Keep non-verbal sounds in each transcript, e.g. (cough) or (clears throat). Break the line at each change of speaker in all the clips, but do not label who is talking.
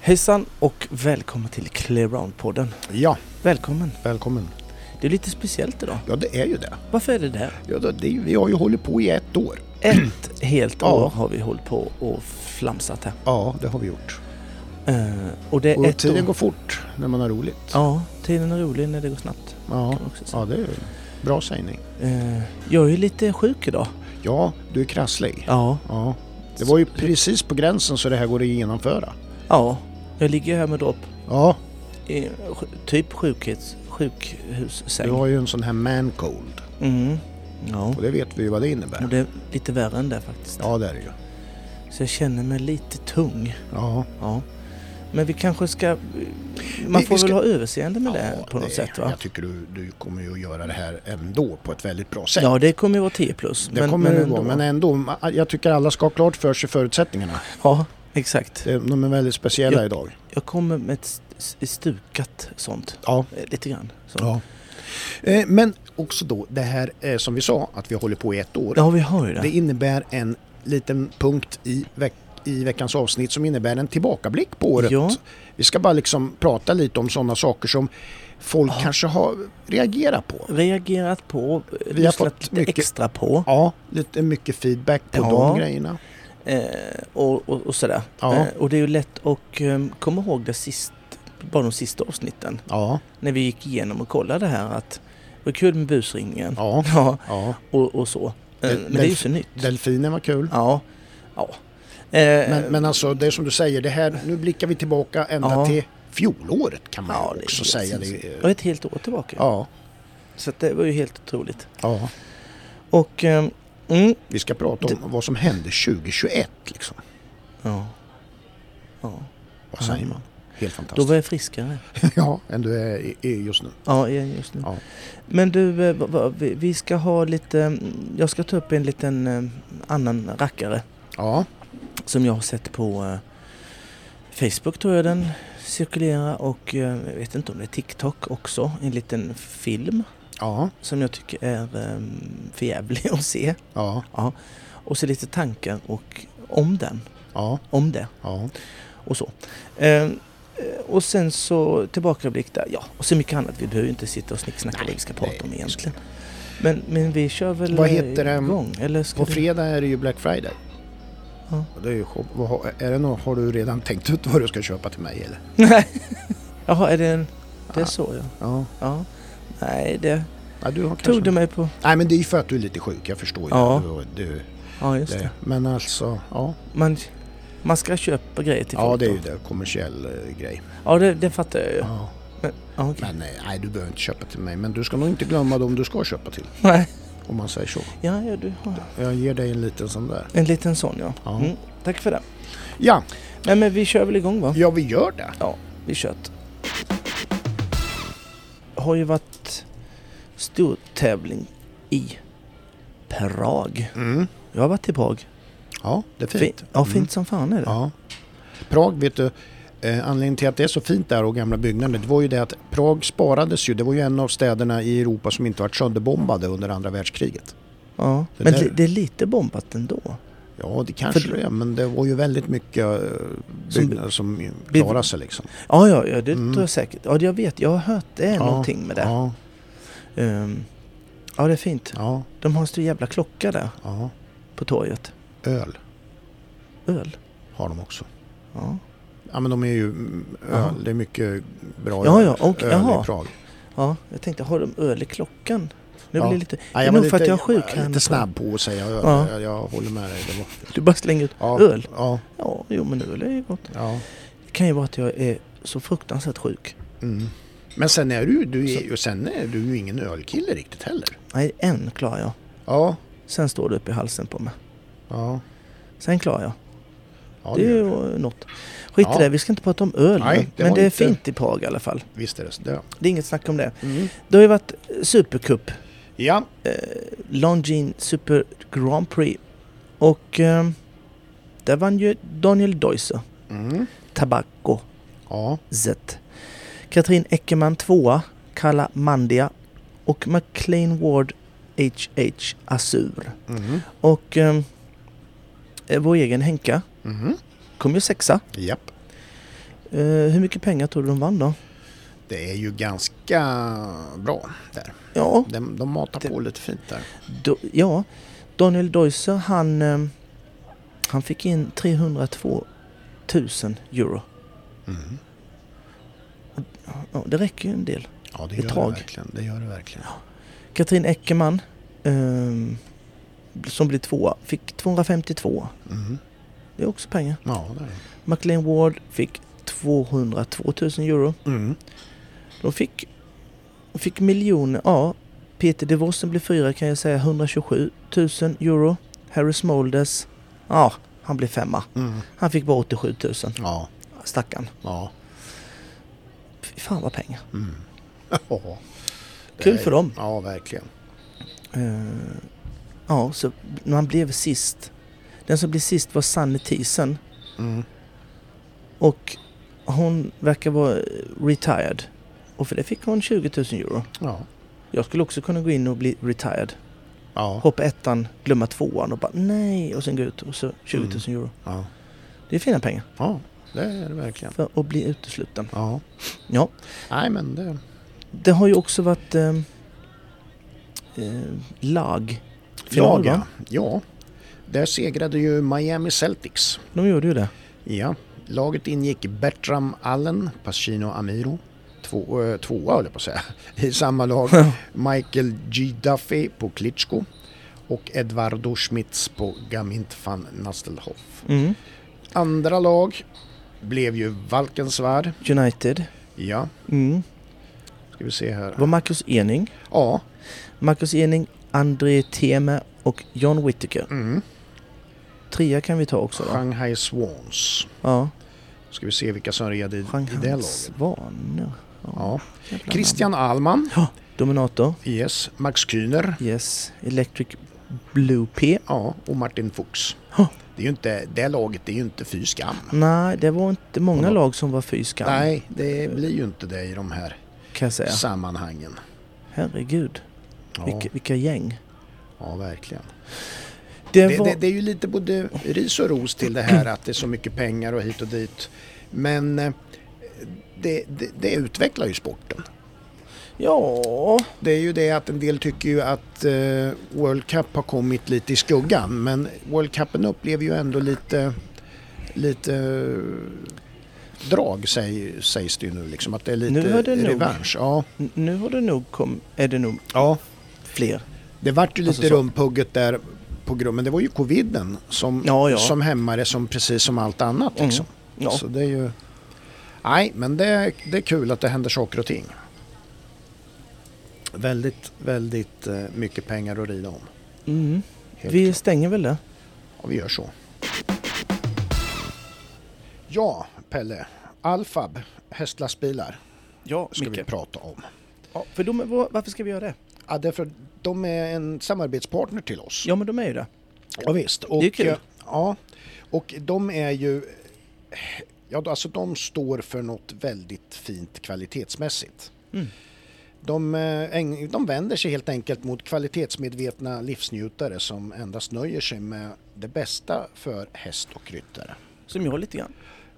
Hejsan och välkommen till Clearround-podden.
Ja,
Välkommen.
välkommen.
Det är lite speciellt idag.
Ja, det är ju det.
Varför är det det?
Ja, det- det vi har ju hållit på i ett år.
Ett (clears throat) helt
Ja.
år har vi hållit på och flamsat här.
Ja, det har vi gjort.
Eh, och det är
Och
ett
tiden
år.
går fort när man har roligt.
Ja, tiden är rolig när det går snabbt.
ja.
Kan man också säga.
ja det är ju bra sägning.
Eh, jag är lite sjuk idag.
Ja, du är krasslig.
Ja.
Ja. Det var ju precis på gränsen så det här går att genomföra.
Ja. Jag ligger här med dropp
Ja,
i sj- typ sjukhus,
du
sjukhussäng.
har ju en sån här man cold.
Mm. Ja.
Och det vet vi ju vad det
Och
innebär.
det är lite värre än det faktiskt.
Ja, det är det ju.
Så jag känner mig lite tung.
Ja,
Ja. Men vi kanske ska... Man
vi
får
ska-
väl ha överseende med
ja
det på något
det-
sätt va?
Jag tycker du, du kommer ju att göra det här ändå på ett väldigt bra sätt.
Ja, det kommer ju vara 10 plus.
det kommer det
ändå.
vara, men ändå. ma- Jag tycker alla ska ha klart för sig förutsättningarna.
Ja, exakt.
Det- De är väldigt speciella
Ja.
idag.
Jag kommer med ett st- stukat sånt.
Ja.
eh, Lite grann. Så.
ja. Eh, Men också då det här eh, som vi sa att vi håller på i ett år.
Ja, vi har ju det.
Det innebär en liten punkt i, veck i veckans avsnitt som innebär en tillbakablick på året.
Ja.
Vi ska bara liksom prata lite om sådana saker som folk kanske har reagerat på.
Reagerat på, eh,
Vi har
lyssnat
fått
lite
mycket-
extra på
Ja, lite mycket feedback på
Ja.
de grejerna.
eh, och, och, och sådär.
Ja.
Eh, och det är ju lätt att eh, komma ihåg det sist, bara de sista avsnitten.
Ja,
När vi gick igenom och kollade här att det var kul med busringen.
ja,
Ja,
ja.
och, och så. Eh,
Del-
men det är ju
delf-
så nytt.
Delfinen var kul.
Ja. ja. Eh,
Men, men alltså det är som du säger, det här, nu blickar vi tillbaka ända
Ja.
till fjolåret kan man
Ja,
ju
det är
också
helt
säga.
sinnes-
Det,
och
är-
ett helt år tillbaka.
ja,
Så att det var ju helt otroligt.
ja.
Och... ehm, mm,
Vi ska prata om vad som hände 2021. Liksom.
ja. ja.
Vad säger
Ja.
man? Helt
Då
fantastiskt.
var jag friskare.
(laughs) ja, än du är, i- i just nu.
Ja, jag är just nu.
Ja.
Men du, eh, vad- vad- vi- vi ska ha lite... mm, Jag ska ta upp en liten eh, annan rackare
Ja,
som jag har sett på eh, Facebook tror jag den cirkulera och eh, jag vet inte om det är TikTok också. En liten film
ja,
som jag tycker är um, förjävlig (laughs) att se.
ja,
Och så lite tankar och om den,
ja,
om det
ja,
och så. Ehm, eh, och sen så tillbakablick där, ja, och så mycket annat. Vi behöver ju inte sitta och snicksnacka
Nej,
vad vi ska prata
nej,
om
det ska
egentligen. Men, men vi kör väl
Vad heter
eh,
den?
igång? Eller ska
På
du-
fredag är det ju Black Friday.
Ja.
Och Det är ju, show- vad har- är det något, har du redan tänkt ut vad du ska köpa till mig eller?
(laughs) Nej. Jaha, är det en... Det är
Ja.
så ja.
Ja.
ja. Nej, det
ja du har
tog du
kanske...
mig på.
Nej men det är ju för att du är lite sjuk, jag förstår ju
Ja.
det. Du,
Ja, just
du,
det.
det. Men alltså, ja.
Man, man ska köpa grejer till
Ja
folk
det är
då.
ju det, kommersiell eh, grej.
Ja, det, det fattar jag ju.
Ja.
Men, ja, okej. (laughs)
Men eh, nej, du behöver inte köpa till mig. Men du ska nog inte glömma dem du ska köpa till.
Nej.
Om man säger så.
Ja, ja, du har
Jag ger dig en liten sån där.
en liten sån ja.
Ja.
Mm, tack för det.
Ja,
Nej men vi kör väl igång va?
ja vi gör det.
Ja, vi kör. Har ju varit stor tävling i Prag.
Mm.
Jag har varit i Prag.
Ja, det är
Fin-
fint. Mm.
Ja, fint som fan är det.
Ja. Prag, vet du, eh, anledningen till att det är så fint där och gamla byggnader, det var ju det att Prag sparades ju. Det var ju en av städerna i Europa som inte varit sönderbombade under andra världskriget.
Ja.
Det
Men
där-
det, det är lite bombat ändå.
Ja, det kanske
För-
det är, men det var ju väldigt mycket eh, byggnader som, klarade sig liksom.
Ja, ja, ja det
Mm.
tror jag säkert. Ja, det jag vet. Jag har hört det är
Ja,
någonting med det. Ja.
Ja,
ja, det är fint.
ja,
De har en stor jävla klocka där
ja.
på torget.
Öl
Öl.
har de också.
Ja,
Ja men de är ju, mm,
Jaha.
öl, det är mycket bra
Ja,
öl-
ja, och-
öl
jaha.
i Prag.
ja jag tänkte, har de öl i klockan? Nu
Ja.
blir det lite...
Nej,
det är
var
nog för att jag är sjuk. här nu på-
Lite snabb på att säga öl,
Ja.
jag, jag håller med dig. Det var,
Du bara slänger ut
ja,
öl.
Ja,
Ja, jo men öl är ju gott.
ja.
Det kan ju vara att jag är så fruktansvärt sjuk.
Mm. Men sen är du, du, är, ju- sen är du ju ingen ölkille riktigt heller.
Nej, en klarar jag.
Ja,
Sen står det upp i halsen på mig.
ja.
Sen klarar jag.
ja
det är
gör
ju
du.
något. Skit i
Ja.
det, vi ska inte prata om öl
Nej,
nu.
det
Men
var
det är
inte-
fint i Prag i alla fall.
Visst är det så. Det.
Det är inget snack om det.
Mm.
Det har ju varit eh, Supercup. eh,
Ja,
Longines Super Grand Prix. Och eh, där vann ju Daniel Deuser.
mm.
Tabacco
ja,
Z. Katrin Eckermann tvåa. Kalla Mandia. Och McLean Ward HH Azur.
mm.
Och eh, vår egen Henka
Mm.
kom ju sexa.
Japp.
Eh, hur mycket pengar tror du de vann då?
Det är ju ganska bra där.
Ja,
De, de matar
Det-
på lite fint där.
do, ja. Daniel Deusser han, eh, han fick in 302 000 euro.
Mm.
Ja, det räcker ju en del.
Ja, det
I
gör
tag.
det verkligen. Det gör det verkligen.
Katrin Eckermann eh, som blev tvåa fick 252.
Mm.
Det är också pengar.
Ja, det är det.
Maclean Ward fick 202 000 euro.
Mm.
De fick, de fick miljoner. Ja, Peter DeVossen blev fyra kan jag säga. 127 000 euro. Harry Smolders. Ja, han blev femma.
Mm.
Han fick bara 87 000.
Ja,
Stackarn.
ja.
Fy fan vad pengar.
Mm. Ja.
(laughs)
Det
Kul
är-
för dem.
Ja, verkligen.
Eh, ja, så när han blev sist. Den som blev sist var Sanne Thiesen.
Mm.
Och hon verkar vara eh, retired. Och för det fick hon 20 000 euro.
Ja.
Jag skulle också kunna gå in och bli retired.
Ja.
hoppa ettan, glömma tvåan och bara nej och sen gå ut och så 20 000 euro.
ja.
Det är fina pengar
Ja, det är det verkligen.
för att bli utesluten.
Ja.
Ja,
Nej, men det...
det har ju också varit eh, eh, lag.
Ja,
Final, va?
ja. ja. Där segrade ju Miami Celtics.
De gjorde ju det.
Ja. Laget ingick Bertram Allen, Pacino Amiro, två, eh, tvåa höll jag på att säga, (laughs) i samma lag. Michael G. Duffy på Klitschko och Eduardo Schmitz på Gamint van Nastelhoff.
Mm.
Andra lag blev ju Valkensvär.
United.
Ja,
Mm.
ska vi se
Det var
här.
Marcus Ening.
Ja,
Marcus Ening, André Thieme och John Whittaker.
mm.
Trea kan vi ta också va?
Shanghai Swans.
Ja.
Ska vi se vilka som red i, i det
Shanghai
laget.
Svanor.
Ja.
jävla namn.
Christian Alman,
Dominator.
yes. Max Kühner
Yes. Electric Blue P.
ja, och Martin Fuchs.
Ja.
Det, är ju inte, det laget det är ju inte fy skam.
Nej, det var inte många
Vadå?
lag som var fy skam,
Nej, det blir ju inte det i de här
kan jag säga.
sammanhangen.
Herregud,
Ja,
vilka, vilka gäng.
ja verkligen.
Det,
Det,
var...
det, det är ju lite både ris och ros till det här att det är så mycket pengar och hit och dit. Men eh, det, det, det utvecklar ju sporten.
Ja,
Det är ju det att en del tycker ju att eh, World Cup har kommit lite i skuggan men World Cupen upplever ju ändå lite, lite eh, drag säg, sägs det ju nu liksom att det är lite
Nu är det nog.
revansch. Ja,
n- nu har det nog kom... är det nog
ja,
fler.
det vart ju lite
Alltså så.
rumpugget där på grund, men det var ju coviden som,
Ja, ja.
som hämmade som precis som allt annat
Mm.
liksom.
Ja.
Så det är ju... Nej, men det, det är kul att det händer saker och ting. Väldigt, väldigt eh, mycket pengar att rida om.
Mm.
Helt
Vi stänger väl det.
Ja, vi gör så. Ja, Pelle. Alfab, hästlastbilar,
Ja,
ska vi prata om.
Ja, för de, är- var- varför ska vi göra det?
Ja, därför de är en samarbetspartner till oss.
Ja, men de är ju det.
Ja, visst. Och,
Det är kul.
eh, Ja, och de är ju... Ja, alltså de står för något väldigt fint kvalitetsmässigt.
Mm.
De, eh, äng- de vänder sig helt enkelt mot kvalitetsmedvetna livsnjutare som endast nöjer sig med det bästa för häst och ryttare.
Som jag lite grann.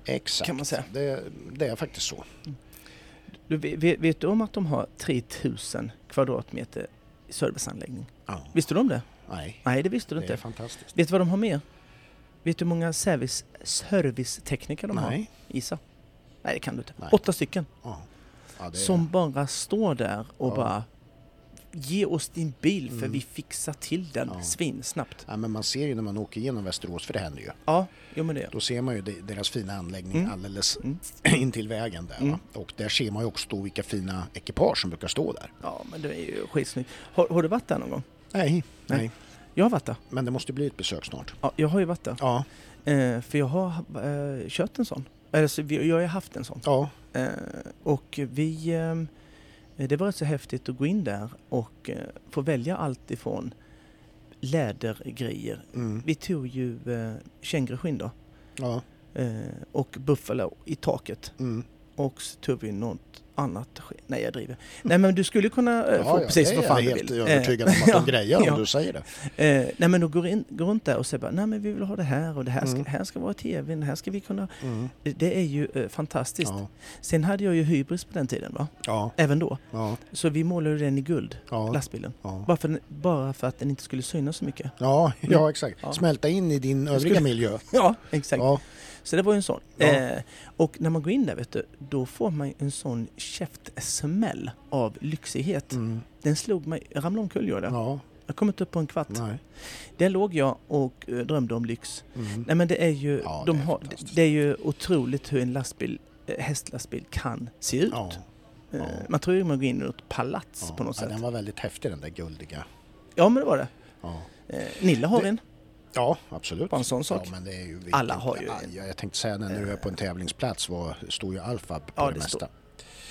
Exakt.
Kan man säga.
Det, det är faktiskt så.
Du, ve- ve- vet du om att de har 3000 kvadratmeter serviceanläggning?
Ja.
Visste du om det?
Nej,
Nej, det visste du
det är
inte.
fantastiskt.
Vet du vad de har mer? Vet du hur många service, servicetekniker de har?
Nej.
Isa? Nej, det kan du inte.
Nej.
Åtta stycken
Ja. Ja, det är,
som bara står där och
Ja.
bara Ge oss din bil för
Mm.
vi fixar till den
Ja.
svinsnabbt.
ja, men man ser ju när man åker genom Västerås, för det händer ju.
Ja, jo men det gör
Då ser man ju de- deras fina anläggning
Mm.
alldeles
Mm.
(clears throat) intill vägen där.
Mm.
Va? Och där ser man ju också då vilka fina ekipage som brukar stå där.
Ja, men det är ju skitsnyggt. Har, har du varit där någon gång?
Nej, nej.
Nej. Jag har varit där.
Men det måste bli ett besök snart.
Ja, jag har ju varit där.
Ja,
Eh, för jag har eh, kört en sån. Alltså, vi- jag har ju haft en sån.
ja,
Eh, och vi... ehm, det var rätt så häftigt att gå in där och eh, få välja allt ifrån lädergrejer.
mm.
Vi tog ju eh, kängurusskinn då
ja,
eh, och buffalo i taket.
mm.
och så tog vi något annat ske- Nej, jag driver. Nej, men du skulle kunna eh, få precis vad fan
jag
du
är helt
vill.
övertygad
Eh,
om att
(laughs)
de
ja,
grejer om
ja.
du säger det.
Eh, nej men då går, in, går runt där och säger bara, nej men vi vill ha det här och det här ska,
Mm.
här ska vara tv, det här ska vi kunna...
Mm.
Det är ju eh, fantastiskt.
Ja,
Sen hade jag ju hybris på den tiden va?
ja,
Även då.
ja,
Så vi målade den i guld,
ja,
lastbilen.
ja.
Bara för, den- bara för att den inte skulle synas så mycket.
ja, (laughs) ja exakt.
Ja.
Smälta in i din övriga
skulle-
miljö.
(laughs) Ja, exakt.
Ja,
Så det var ju en sån.
Ja.
Eh, och när man går in där vet du, då får man ju en sån käftsmäll av lyxighet.
mm.
Den slog mig, jag ramlade omkull gjorde jag.
ja,
Jag kom inte upp på en kvart.
nej.
Där låg jag och eh, drömde om lyx.
Mm.
Nej men det är ju,
Ja,
de
det är
har,
fantastiskt.
det är ju otroligt hur en lastbil, eh, hästlastbil kan se ut.
Ja,
Eh,
ja.
Man tror ju man går in i något palats
ja.
på något
ja,
sätt.
den var väldigt häftig den där guldiga.
Ja men det var det.
Ja,
Eh, Nilla har
Det-
en,
ja absolut.
bara en sån sak.
Ja, men det är ju
Alla har ju-
Ja, jag tänkte säga när du är på en tävlingsplats var, står ju Alfab på
Ja,
det,
det
mesta.
står-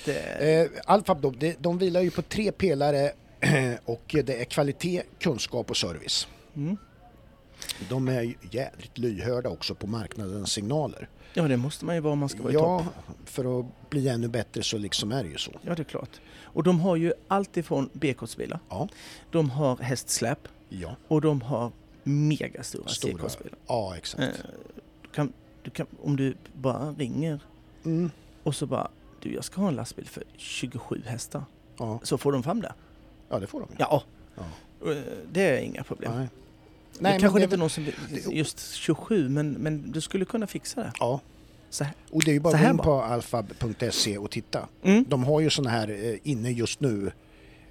Det,
Eh, Alfab då, de, de vilar ju på tre pelare (clears throat) och det är kvalitet, kunskap och service.
mm.
De är ju jädrigt lyhörda också på marknadens signaler.
Ja det måste man ju vara om man ska vara i topp.
Ja, för att bli ännu bättre så liksom är det ju så.
Ja, det är klart. Och de har ju allt ifrån B-kortsbilar,
Ja,
de har hästsläp
ja,
och de har megastora
Stora.
C-kortsbilar.
ja exakt.
Eh, Du kan, du kan, om du bara ringer
Mm,
och så bara du, jag ska ha en lastbil för 27 hästar.
ja,
Så får de fram det.
ja, det får de ju.
Ja,
Ja.
Eh, det är inga problem.
Nej.
Nej,
men
det kanske
det är
inte
väl-
någon som just 27, men, men du skulle kunna fixa det.
Ja,
Så här.
och det är ju bara
Så
att gå
här
in
bara.
på alfab.se och titta.
Mm.
De har ju sådana här eh, inne just nu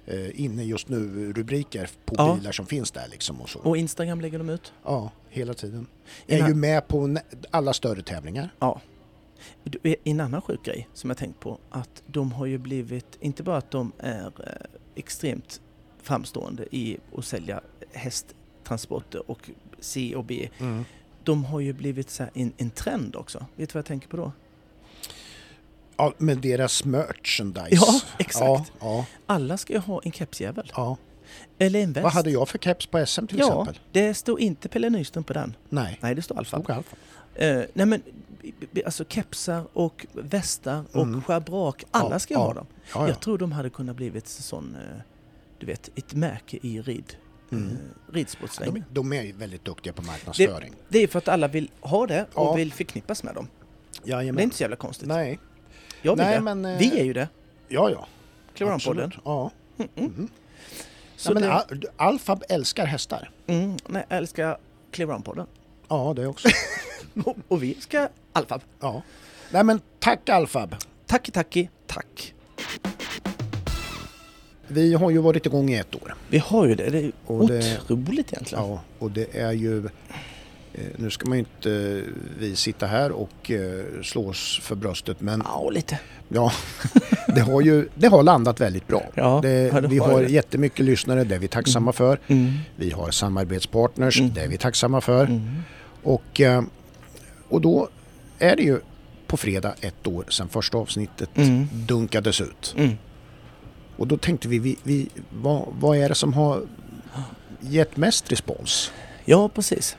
eh, inne just nu rubriker på
Ja.
bilar som finns där liksom och så.
Och Instagram lägger de ut.
Ja, hela tiden.
En
Är
a-
ju med på nä- alla större tävlingar.
Ja. Du, eh, En annan sjuk grej som jag tänkt på att de har ju blivit, inte bara att de är eh, extremt framstående i att sälja hästtransporter och C och B. De har ju blivit så här en, en trend också. Vet du vad jag tänker på då?
Ja, men deras merchandise.
Ja, exakt.
Ja, ja,
Alla ska ju ha en kepsjävel.
ja.
Eller en väst.
Vad hade jag för keps på SM till
ja,
exempel?
det står inte Pelle Nyström på den.
Nej,
Nej, det står Alfa.
stod Alfa.
Eh, nej men, b- b- alltså kepsar och västar och
Mm.
schabrak. Alla
Ja,
ska ju
ja.
ha dem.
Ah, Ja, ja.
Jag tror de hade kunnat blivit en sån, eh, du vet, ett märke i rid,
Mm.
eh,
De,
ridsportslängen.
de är ju väldigt duktiga på marknadsföring.
Det är för att alla vill ha det och
Ja.
vill förknippas med dem.
Jajamän.
Det är inte så jävla konstigt.
Nej,
Jag vill
Nej,
det.
men, eh,
Vi är ju det,
ja, ja.
Kloranpodden.
Absolut. Ja. Mhm.
Så
Nej, men
det,
Al- Alfab älskar hästar.
mm, nej, jag älskar Clearown-podden.
Ja,
(laughs)
det också.
Och, och vi ska Alfab.
ja. Nej, men tack Alfab.
Tacki, tacki, tack.
Vi har ju varit igång i ett år.
Vi har ju det. Det är ju
Och det-
otroligt egentligen.
Ja, och det är ju... eh, Nu ska man ju inte eh, vi sitta här och eh, slå oss för bröstet men
Ja, lite. (laughs)
ja, det har ju det har landat väldigt bra.
Ja, ja,
det,
det
vi
har
har
det.
jättemycket lyssnare, det är vi tacksamma för.
Mm.
Vi har samarbetspartners,
Mm.
det är vi tacksamma för.
Mm.
Och, eh, och då är det ju på fredag ett år sedan första avsnittet
Mm.
dunkades ut.
Mm.
Och då tänkte vi, vi, vi vad, vad är det som har gett mest respons?
Ja, precis.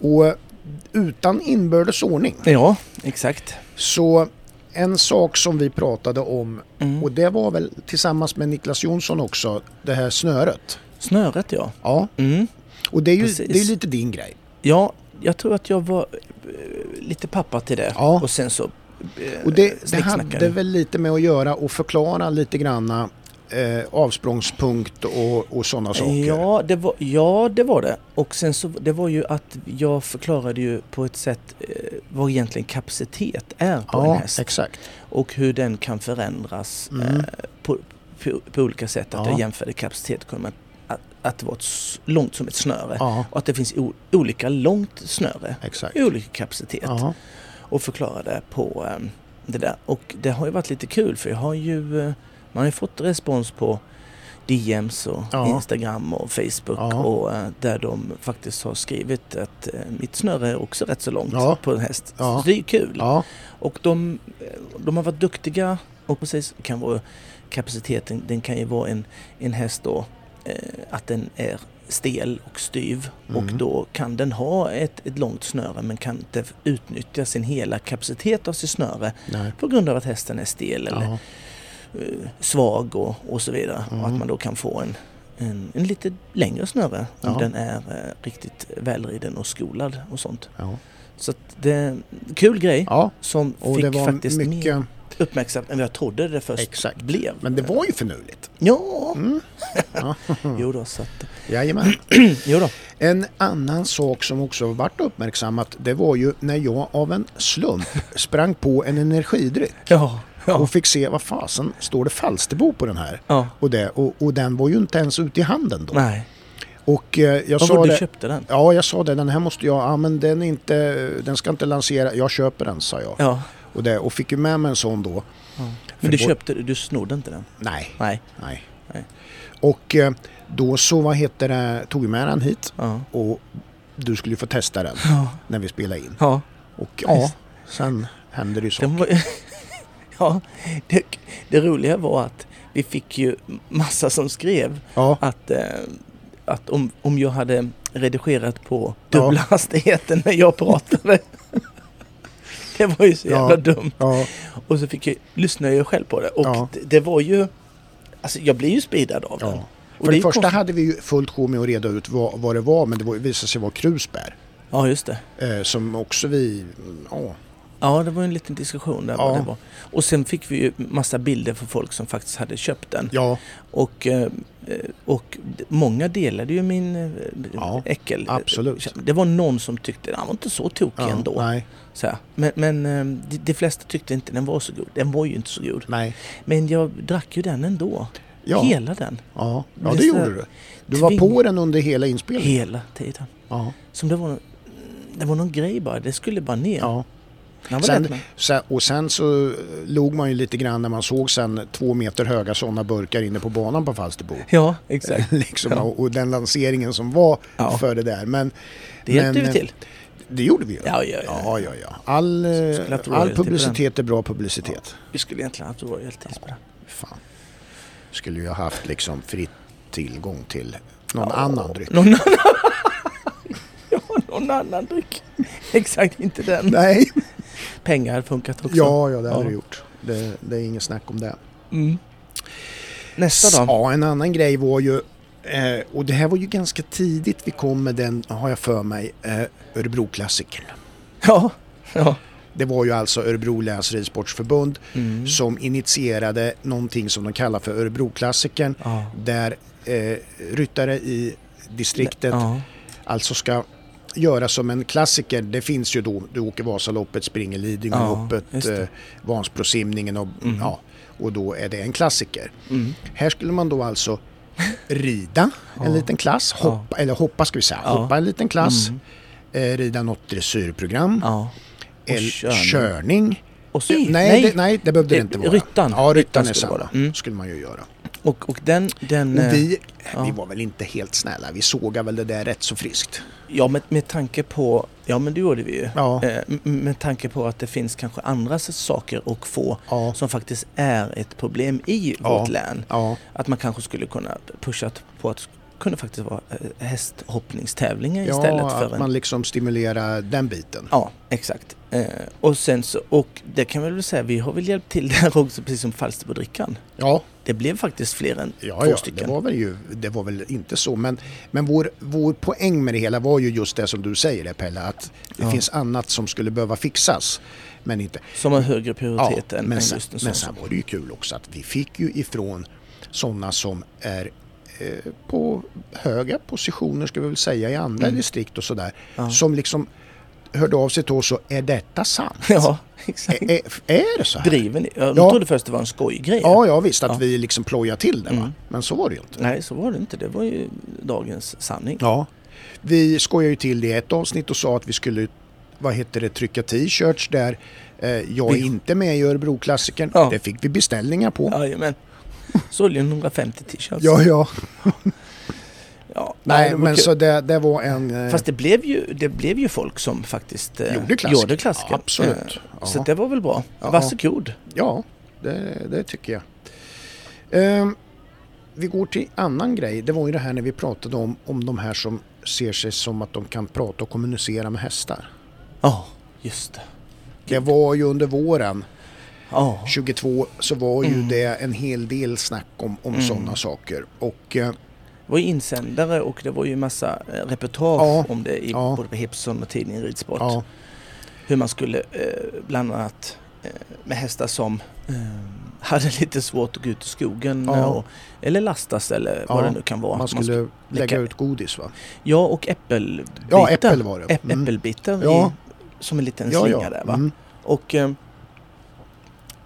Och eh, utan inbördes ordning.
Ja, exakt.
Så en sak som vi pratade om,
Mm.
och det var väl tillsammans med Niklas Jonsson också, det här snöret.
Snöret, ja.
Ja,
Mm.
och det är ju
Precis.
det är lite din grej.
Ja, jag tror att jag var eh, lite pappa till det.
Ja.
Och sen så... eh,
Och det, det
snicksnackade.
hade väl lite med att göra och förklara lite granna eh, avsprångspunkt och, och sådana saker.
Ja det, var, ja, det var det. Och sen så det var ju att jag förklarade ju på ett sätt eh, vad egentligen kapacitet är på en
ja
häst.
exakt.
Och hur den kan förändras
Mm.
eh, på, på, på olika sätt. Att
Ja.
jag jämförde kapacitet med att, att det var ett, s- långt som ett snöre.
Ja,
Och att det finns o, olika långt snöre.
exakt.
i Olika kapacitet.
Ja,
och förklarade på ehm, det där. Och det har ju varit lite kul för jag har ju, eh, man har ju fått respons på DMs och
Ja.
Instagram och Facebook
Ja.
och eh, där de faktiskt har skrivit att eh, mitt snöre är också rätt så långt
Ja.
på en häst.
Ja.
Så det är ju kul.
ja,
Och de, eh, de har varit duktiga och precis kan vara kapaciteten, den kan ju vara en, en häst då eh, att den är stel och styv och
Mm.
då kan den ha ett, ett långt snöre men kan inte utnyttja sin hela kapacitet av sitt snöre
Nej.
på grund av att hästen är stel eller
Ja.
eh, svag och, och så vidare.
Mm.
Och att man då kan få en, en, en lite längre snöre om
Ja.
den är eh, riktigt välriden och skolad och sånt.
Ja.
Så att det är en kul grej
ja,
som
och
fick
det var
faktiskt mer
mycket...
uppmärksamhet än vad jag trodde det först
Exakt.
blev.
Men det var Mm. ju finurligt.
Ja,
Mm. Ja.
jo då, så att, Mm,
Jajamän.
jo då.
En annan sak som också varit uppmärksammat det var ju när jag av en slump (laughs) sprang på en energidryck
Ja, ja,
och fick se vad fasen står det Falsterbo på den här.
ja.
Och, det, och, och den var ju inte ens ute i handen då.
Nej,
Och eh, jag
vad var
sa
det du
det,
köpte den?
Ja, jag sa det, den här måste jag, ja men den är inte, den ska inte lansera, jag köper den sa jag.
Ja,
Och, det, och fick ju med mig en sån då.
ja.
För
men du
då-
köpte, du snodde inte den?
Nej,
Nej,
nej.
Nej.
Och eh, då så, vad heter det, tog jag med den hit
ja.
och du skulle ju få testa den
Ja,
när vi spelade in.
ja.
Och ja,
Visst.
sen hände det ju så.
Den var, (laughs) ja det, det roliga var att vi fick ju massa som skrev
Ja,
att, eh, att om, om jag hade redigerat på
Ja.
dubbla (laughs) hastigheten när jag pratade. (laughs) det var ju så jävla
Ja.
dumt.
ja,
Och så fick jag, lyssnade jag själv på det och
Ja.
det, det var ju, alltså jag blev ju speedad av den.
ja.
Och
För
är
det
ju
första
konstigt.
hade vi ju fullt sjå med att reda ut vad, vad det var men det var, visade sig vara krusbär.
Ja just det.
Eh, som också vi, ja,
Ja det var ju en liten diskussion där.
Ja.
Vad det var. Och sen fick vi ju massa bilder för folk som faktiskt hade köpt den.
ja,
Och, eh, och d- många delade ju min eh,
Ja,
äckel. Eh,
absolut.
Det var någon som tyckte den var inte så tokig
ja
ändå.
nej,
Så här. Men, men eh, de, de flesta tyckte inte den var så god. Den var ju inte så god.
nej.
Men jag drack ju den ändå.
Ja.
Hela den.
Ja, ja
Men
det
så-
gjorde du. Du var
Tving-
på den under hela inspelningen.
Hela tiden.
Ja,
Som det var, det var någon grej bara. Det skulle bara ner.
ja.
Den var
Sen-
lätt, men-
Sen, och sen så eh, log man ju lite grann när man såg sen två meter höga sådana burkar inne på banan på Falsterbo.
Ja, exakt.
(laughs) liksom,
Ja.
och, och den lanseringen som var
(laughs) Ja.
för det där. Men
Det hjälpte
Men,
vi till.
det gjorde vi ju.
Ja, ja, ja.
ja, ja, ja. All, eh,
Skulle haft royalty
all
på den.
publicitet är bra publicitet.
Vi skulle egentligen haft royalties på den.
Fan. Skulle ju ha haft liksom fritt tillgång till någon annan dryck.
Någon annan. (laughs) ja, någon annan dryck. Exakt, inte den.
Nej,
Pengar hade funkat också.
ja, ja det hade
Ja.
du gjort. Det, det är inget snack om det.
Mm. Nästa då?
Ja, en annan grej var ju, eh, och det här var ju ganska tidigt vi kom med den, har jag för mig, eh, Örebroklassikern.
Ja. ja.
Det var ju alltså Örebro läns ridsportsförbund
Mm.
som initierade någonting som de kallar för Örebroklassikern
ja.
där eh, ryttare i distriktet
Ja.
alltså ska göra som en klassiker. Det finns ju då, du åker Vasaloppet, springer Lidingöloppet,
Ja, just det.
eh, Vansbrosimningen och,
Mm.
ja, och då är det en klassiker.
Mm.
Här skulle man då alltså rida
(laughs) Ja.
en liten klass, hoppa, eller hoppa ska vi säga,
Ja.
hoppa en liten klass,
Mm.
eh, rida något dressyrprogram,
Ja. Och
eller
körning.
körning.
Och så,
nej,
nej,
Det, nej, det behövde det
Det-
inte vara.
ryttan.
Ja, ryttan,
Ryttan
är
skulle
samma.
vara. Mm.
skulle man ju göra.
Och, och den... den
Och
eh,
vi,
ja.
vi var väl inte helt snälla, vi sågade väl det där rätt så friskt.
Ja, med, med tanke på... Ja, men det gjorde vi ju.
Ja,
Eh, m- med tanke på att det finns kanske andra saker att få
ja,
som faktiskt är ett problem i
Ja.
vårt län.
ja,
Att man kanske skulle kunna pusha på att det kunde faktiskt vara eh, hästhoppningstävlingar istället
ja
för
att
en...
man liksom stimulerar den biten.
Ja, exakt. Eh, och sen så, och det kan vi väl säga, vi har väl hjälpt till (laughs) där också, precis som Falsterbodrickan.
Ja,
Det blev faktiskt fler än
Ja,
två
ja det,
stycken.
var väl ju, det var väl inte så. Men, men vår, vår poäng med det hela var ju just det som du säger det, Pelle. Att det
Ja.
finns annat som skulle behöva fixas. Men inte...
Som har högre
Ja,
prioritet än,
men,
än
sen,
just en sån.
men sen var det ju kul också att vi fick ju ifrån sådana som är eh, på höga positioner, ska vi väl säga, i andra
Mm.
distrikt och sådär.
Ja.
Som liksom hörde av sig till oss och är detta sant?
(laughs) ja, exakt.
Är, är- är det så här?
Driven i- Jag
Eh, Ja.
trodde först det var en skojgrej.
Ja, ja visst att
Ja.
vi liksom plojar till det va?
Mm.
Men så var det ju inte.
Nej, så var det inte. Det var ju dagens sanning.
Ja. Vi skojade ju till det i ett avsnitt och sa att vi skulle vad heter det, trycka t-shirts där eh, jag
Vi-
är inte med i Örebroklassikern.
Ja.
Det fick vi beställningar på.
Jajamän. Sålde ju 150 t-shirts.
Ja, ja.
Ja,
Nej,
det var
men
kul.
så det, det var en... eh,
Fast det blev, ju, det blev ju folk som faktiskt eh,
Gjorde klassiker.
gjorde klassiker.
Ja, absolut.
Eh,
Ja.
Så det var väl bra.
Ja.
Varsågod.
Ja, det, det tycker jag. Ehm, vi går till annan grej. Det var ju det här när vi pratade om, om de här som ser sig som att de kan prata och kommunicera med hästar.
Ja, just det.
Det var ju under våren
Ja,
22 så var ju
Mm.
det en hel del snack om, om
Mm.
sådana saker. Och eh,
det var ju insändare och det var ju massa eh, reportage
Ja,
om det i
ja.
både på Hipson och tidningen Ridsport.
ja,
Hur man skulle eh, bland annat eh, med hästar som eh, hade lite svårt att gå ut i skogen
Ja.
eh, och, eller lastas eller vad
Ja,
det nu kan vara.
man
Man
skulle
sk-
lägga
lägga-
ut godis va?
ja, och äppelbitar.
Ja, äppel var det.
Äpp- Äppelbitar
Ja.
Mm. i, som en liten
ja,
slinga
ja.
där va.
Mm.
Och eh,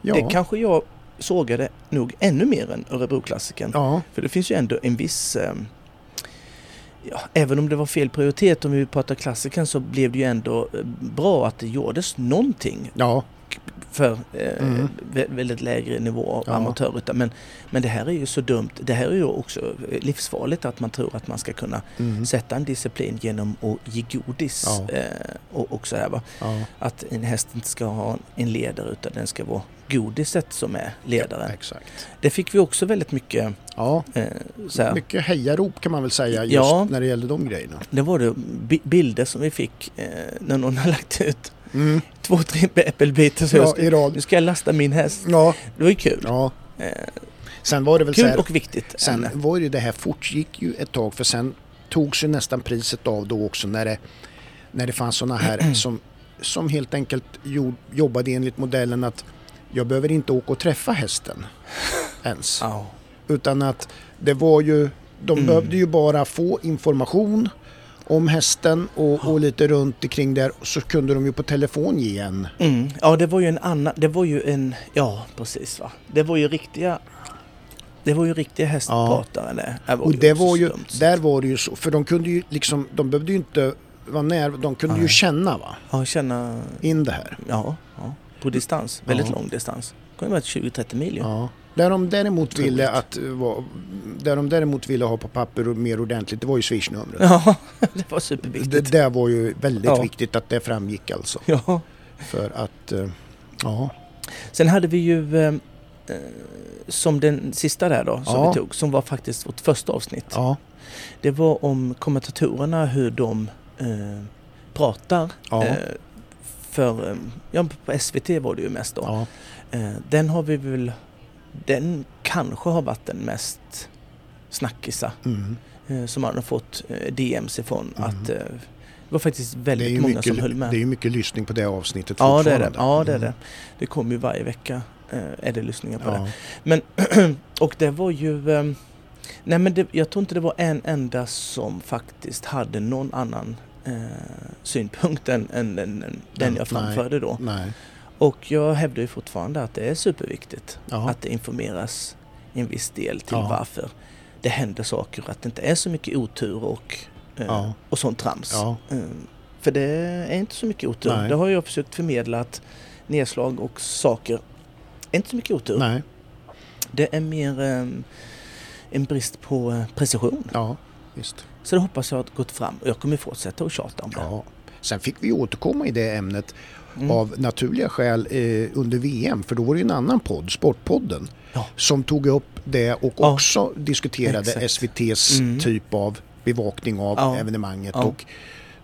ja.
det kanske jag sågade nog ännu mer än Örebroklassikern.
ja.
För det finns ju ändå en viss... Eh, ja, även om det var fel prioritet om vi pratar klassiken så blev det ju ändå eh, bra att det gjordes någonting
Ja,
för eh,
Mm.
vä- väldigt lägre nivå av
Ja.
amatörryttare. Men, men det här är ju så dumt. Det här är ju också eh, livsfarligt att man tror att man ska kunna
mm.
sätta en disciplin genom att ge godis.
Ja.
Eh, och, och så här, va?
ja.
Att en häst inte ska ha en ledare utan den ska vara godiset som är ledaren.
exakt.
Det fick vi också väldigt mycket
Ja,
eh, så här,
mycket hejarop kan man väl säga just
Ja.
när det gäller de grejerna.
Det var det bi- bilder som vi fick eh, när någon har lagt ut
Mm.
två, tre äppelbitar. Så
Ja,
ja,
i
nu (laughs)
rad.
ska jag lasta min häst.
Ja,
Det var ju kul.
ja.
Eh,
Sen var det väl så
kul
här,
och viktigt.
sen
ämne.
var ju det här fortgick ju ett tag för sen togs ju nästan priset av då också när det, när det fanns
(clears throat)
sådana här som, som helt enkelt jo, jobbade enligt modellen att jag behöver inte åka och
(laughs)
träffa hästen ens.
Ja.
Utan att det var ju, de
Mm.
behövde ju bara få information om hästen och, och lite runt omkring där så kunde de ju på telefon ge en.
Mm. ja, det var ju en annan... Det var ju en... Ja, precis va. Det var ju riktiga... Det var ju riktiga hästpratare det. det. var
Och det var
också
ju,
dumt.
där var det ju så, för de kunde ju liksom, de behövde ju inte vara nära, de kunde ju
Nej.
känna va,
Ja, känna...
in det här.
Ja, ja. På distans. Väldigt
Mm. Ja.
lång distans. Det kunde vara 20-30 mil ju.
Ja. Där de däremot
Otroligt.
ville att, eh, var, där de däremot ville ha på papper och mer ordentligt, det var ju swishnumret.
Ja, det var superviktigt.
(laughs) Det där var ju väldigt
Ja.
viktigt att det framgick alltså.
Ja.
För att, eh, ja,
Sen hade vi ju eh, eh, som den sista där då, som
Ja.
vi tog, som var faktiskt vårt första avsnitt.
ja,
Det var om kommentatorerna, hur de eh, pratar.
ja, ja.
Eh, för, eh, ja, på SVT var det ju mest då. Eh, den har vi väl, den kanske har varit den mest snackisa
Mm.
eh, som man har fått eh, DMs ifrån.
Mm.
Att, eh, det var faktiskt
Det är ju
väldigt många
mycket,
som höll med.
Det är ju mycket lyssning på det avsnittet
ja, det är det.
fortfarande.
Ja, det är
Mm.
det. Det kommer ju varje vecka. Eh, är det lyssningar på det.
Ja,
Och det var ju... ehm, Nej men det, jag tror inte det var en enda som faktiskt hade någon annan eh, synpunkt än, än, än, än den
Nej.
jag framförde då.
nej.
Och jag hävdar ju fortfarande att det är superviktigt
Ja,
att det informeras i en viss del till
Ja.
varför det händer saker och att det inte är så mycket otur och, eh,
ja,
och sånt trams.
ja,
Mm, För det är inte så mycket otur.
Nej.
Det har jag försökt förmedla att nedslag och saker är inte så mycket otur.
nej,
Det är mer em, en brist på eh, precision.
ja, visst.
Så det hoppas jag har gått fram och jag kommer fortsätta att tjata om det.
Ja. Sen fick vi återkomma i det ämnet
Mm.
av naturliga skäl eh, under VM, för då var det ju en annan podd, Sportpodden,
Ja.
som tog upp det och
Ja.
också diskuterade
Exakt.
SVTs
Mm.
typ av bevakning av
Ja.
evenemanget.
Ja.
Och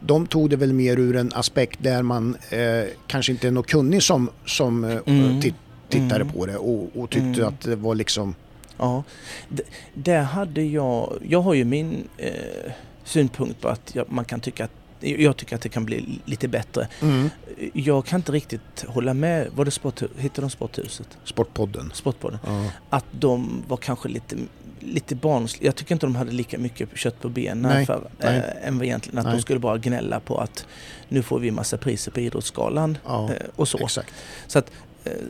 de tog det väl mer ur en aspekt där man eh, kanske inte är någon kunnig som, som eh,
Mm.
tit- tittade
Mm.
på det och, och tyckte
Mm.
att det var liksom...
Ja. D- Där hade jag, jag har ju min eh, synpunkt på att jag, man kan tycka att jag tycker att det kan bli lite bättre. Jag kan inte riktigt hålla med, var det sport, hittade de Sporthuset?
Sportpodden.
Sportbaden?
Ja.
Att de var kanske lite, lite barnsliga. Jag tycker inte de hade lika mycket kött på benen
Nej,
för,
nej.
Eh, än vad egentligen att
Nej.
de skulle bara gnälla på att nu får vi massa priser på Idrottsgalan
Ja,
eh, och så.
exakt.
Eh,